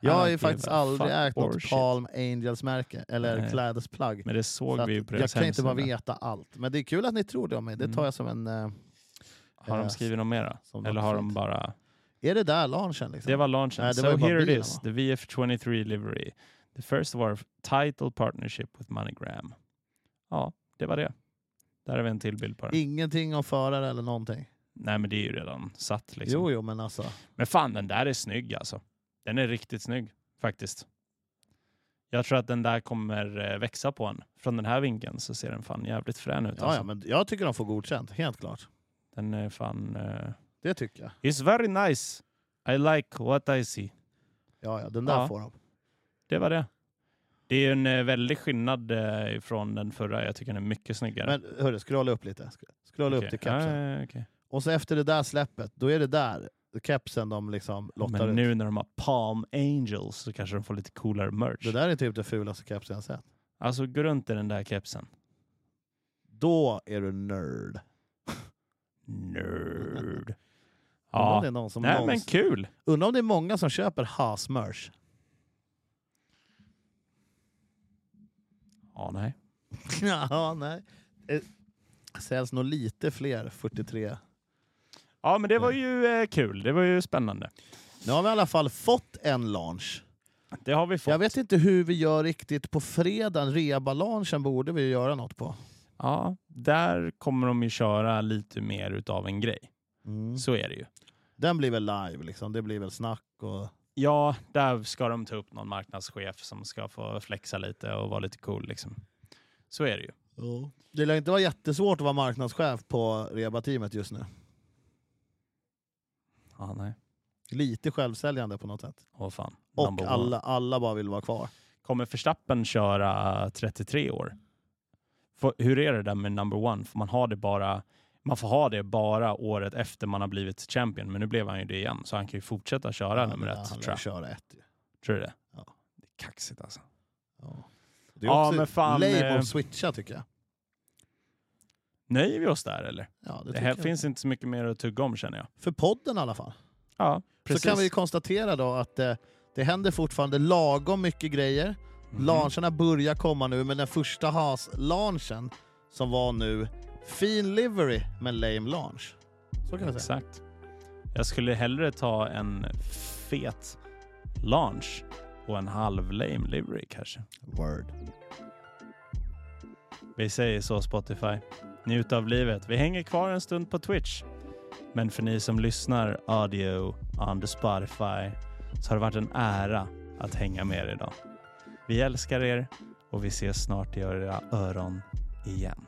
Jag har ju don't faktiskt give a aldrig fuck ägt or något shit. Palm Angels-märke eller Nej. klädesplagg. Men det Så såg att vi ju på jag deras kan inte bara hemsida. veta allt. Men det är kul att ni tror det om mig. Det tar Mm. jag som en... eh, Har de skrivit något mera? Som Eller något har de fint. bara... Är det där launchen? Liksom? Det var launchen. Nej, det so var ju bara here it bilen, is, va? the VF23 livery. The first of our title partnership with MoneyGram. Ja, det var det. Där har vi en till bild på den. Ingenting om förare eller någonting. Nej, men det är ju redan satt liksom. Jo, jo, men alltså. Men fan, den där är snygg alltså. Den är riktigt snygg faktiskt. Jag tror att den där kommer eh, växa på en. Från den här vinkeln så ser den fan jävligt frän ut. Ja, alltså. ja, men jag tycker de får godkänt, helt klart. Den är fan... eh, Det tycker jag. It's very nice. I like what I see. Ja, ja, den där Ja. får de. Det var det. Det är ju en eh, väldig skillnad eh, från den förra. Jag tycker den är mycket snyggare. Men hörru, scrolla upp lite. Sk- Scrolla upp Okej. till kepsen. Ja, ja, okej. Och så efter det där släppet, då är det där kepsen de liksom lottar Men ut. nu när de har Palm Angels så kanske de får lite coolare merch. Det där är typ det fulaste kepsen jag sett. Alltså gå runt i den där kepsen. Då är du nörd. [laughs] Nerd. Undrar om Ja, det är någon som Nej, men någonsin- kul. Undrar om det är många som köper Haas-merch. [laughs] Ja, nej. ja, nej. Eh, Säljs nog lite fler 43. Ja, men det var ju eh, kul. Det var ju spännande. Nu har vi i alla fall fått en launch. Det har vi Jag fått. vet inte hur vi gör riktigt på fredagen. Reabalaunchen borde vi göra något på. Ja, där kommer de ju köra lite mer utav en grej. Mm. Så är det ju. Den blir väl live, liksom. det blir väl snack. Och... Ja, där ska de ta upp någon marknadschef som ska få flexa lite och vara lite cool. Liksom. Så är det ju. Det lär inte vara jättesvårt att vara marknadschef på Reba-teamet just nu. Ja, nej. Lite självsäljande på något sätt. Åh fan. Och Number one. alla, alla bara vill vara kvar. Kommer Verstappen köra 33 år? Får- hur är det där med number one? Får man, ha det bara, man får ha det bara året efter man har blivit champion, men nu blev han ju det igen, så han kan ju fortsätta köra nummer Han ett. lär Tror jag. köra ett. ju. Tror du det? Ja. Det är kaxigt alltså. Ja. Det är Ja, också men fan, lame eh, att switcha tycker jag. Nöjer vi oss där eller? Ja, det Det, tycker här jag. finns inte så mycket mer att tugga om känner jag. För podden i alla fall. Ja, precis. Så kan vi ju konstatera då att eh, det händer fortfarande lagom mycket grejer. Mhm. Launcherna börjar komma nu, men den första Haas-launchen som var nu, fin livery men lame launch. Så kan vi säga. Exakt. Jag skulle hellre ta en fet launch och en halv lame livery kanske. Word. Vi säger så Spotify. Njut av livet. Vi hänger kvar en stund på Twitch. Men för ni som lyssnar audio under Spotify så har det varit en ära att hänga med er idag. Vi älskar er och vi ses snart i era öron igen.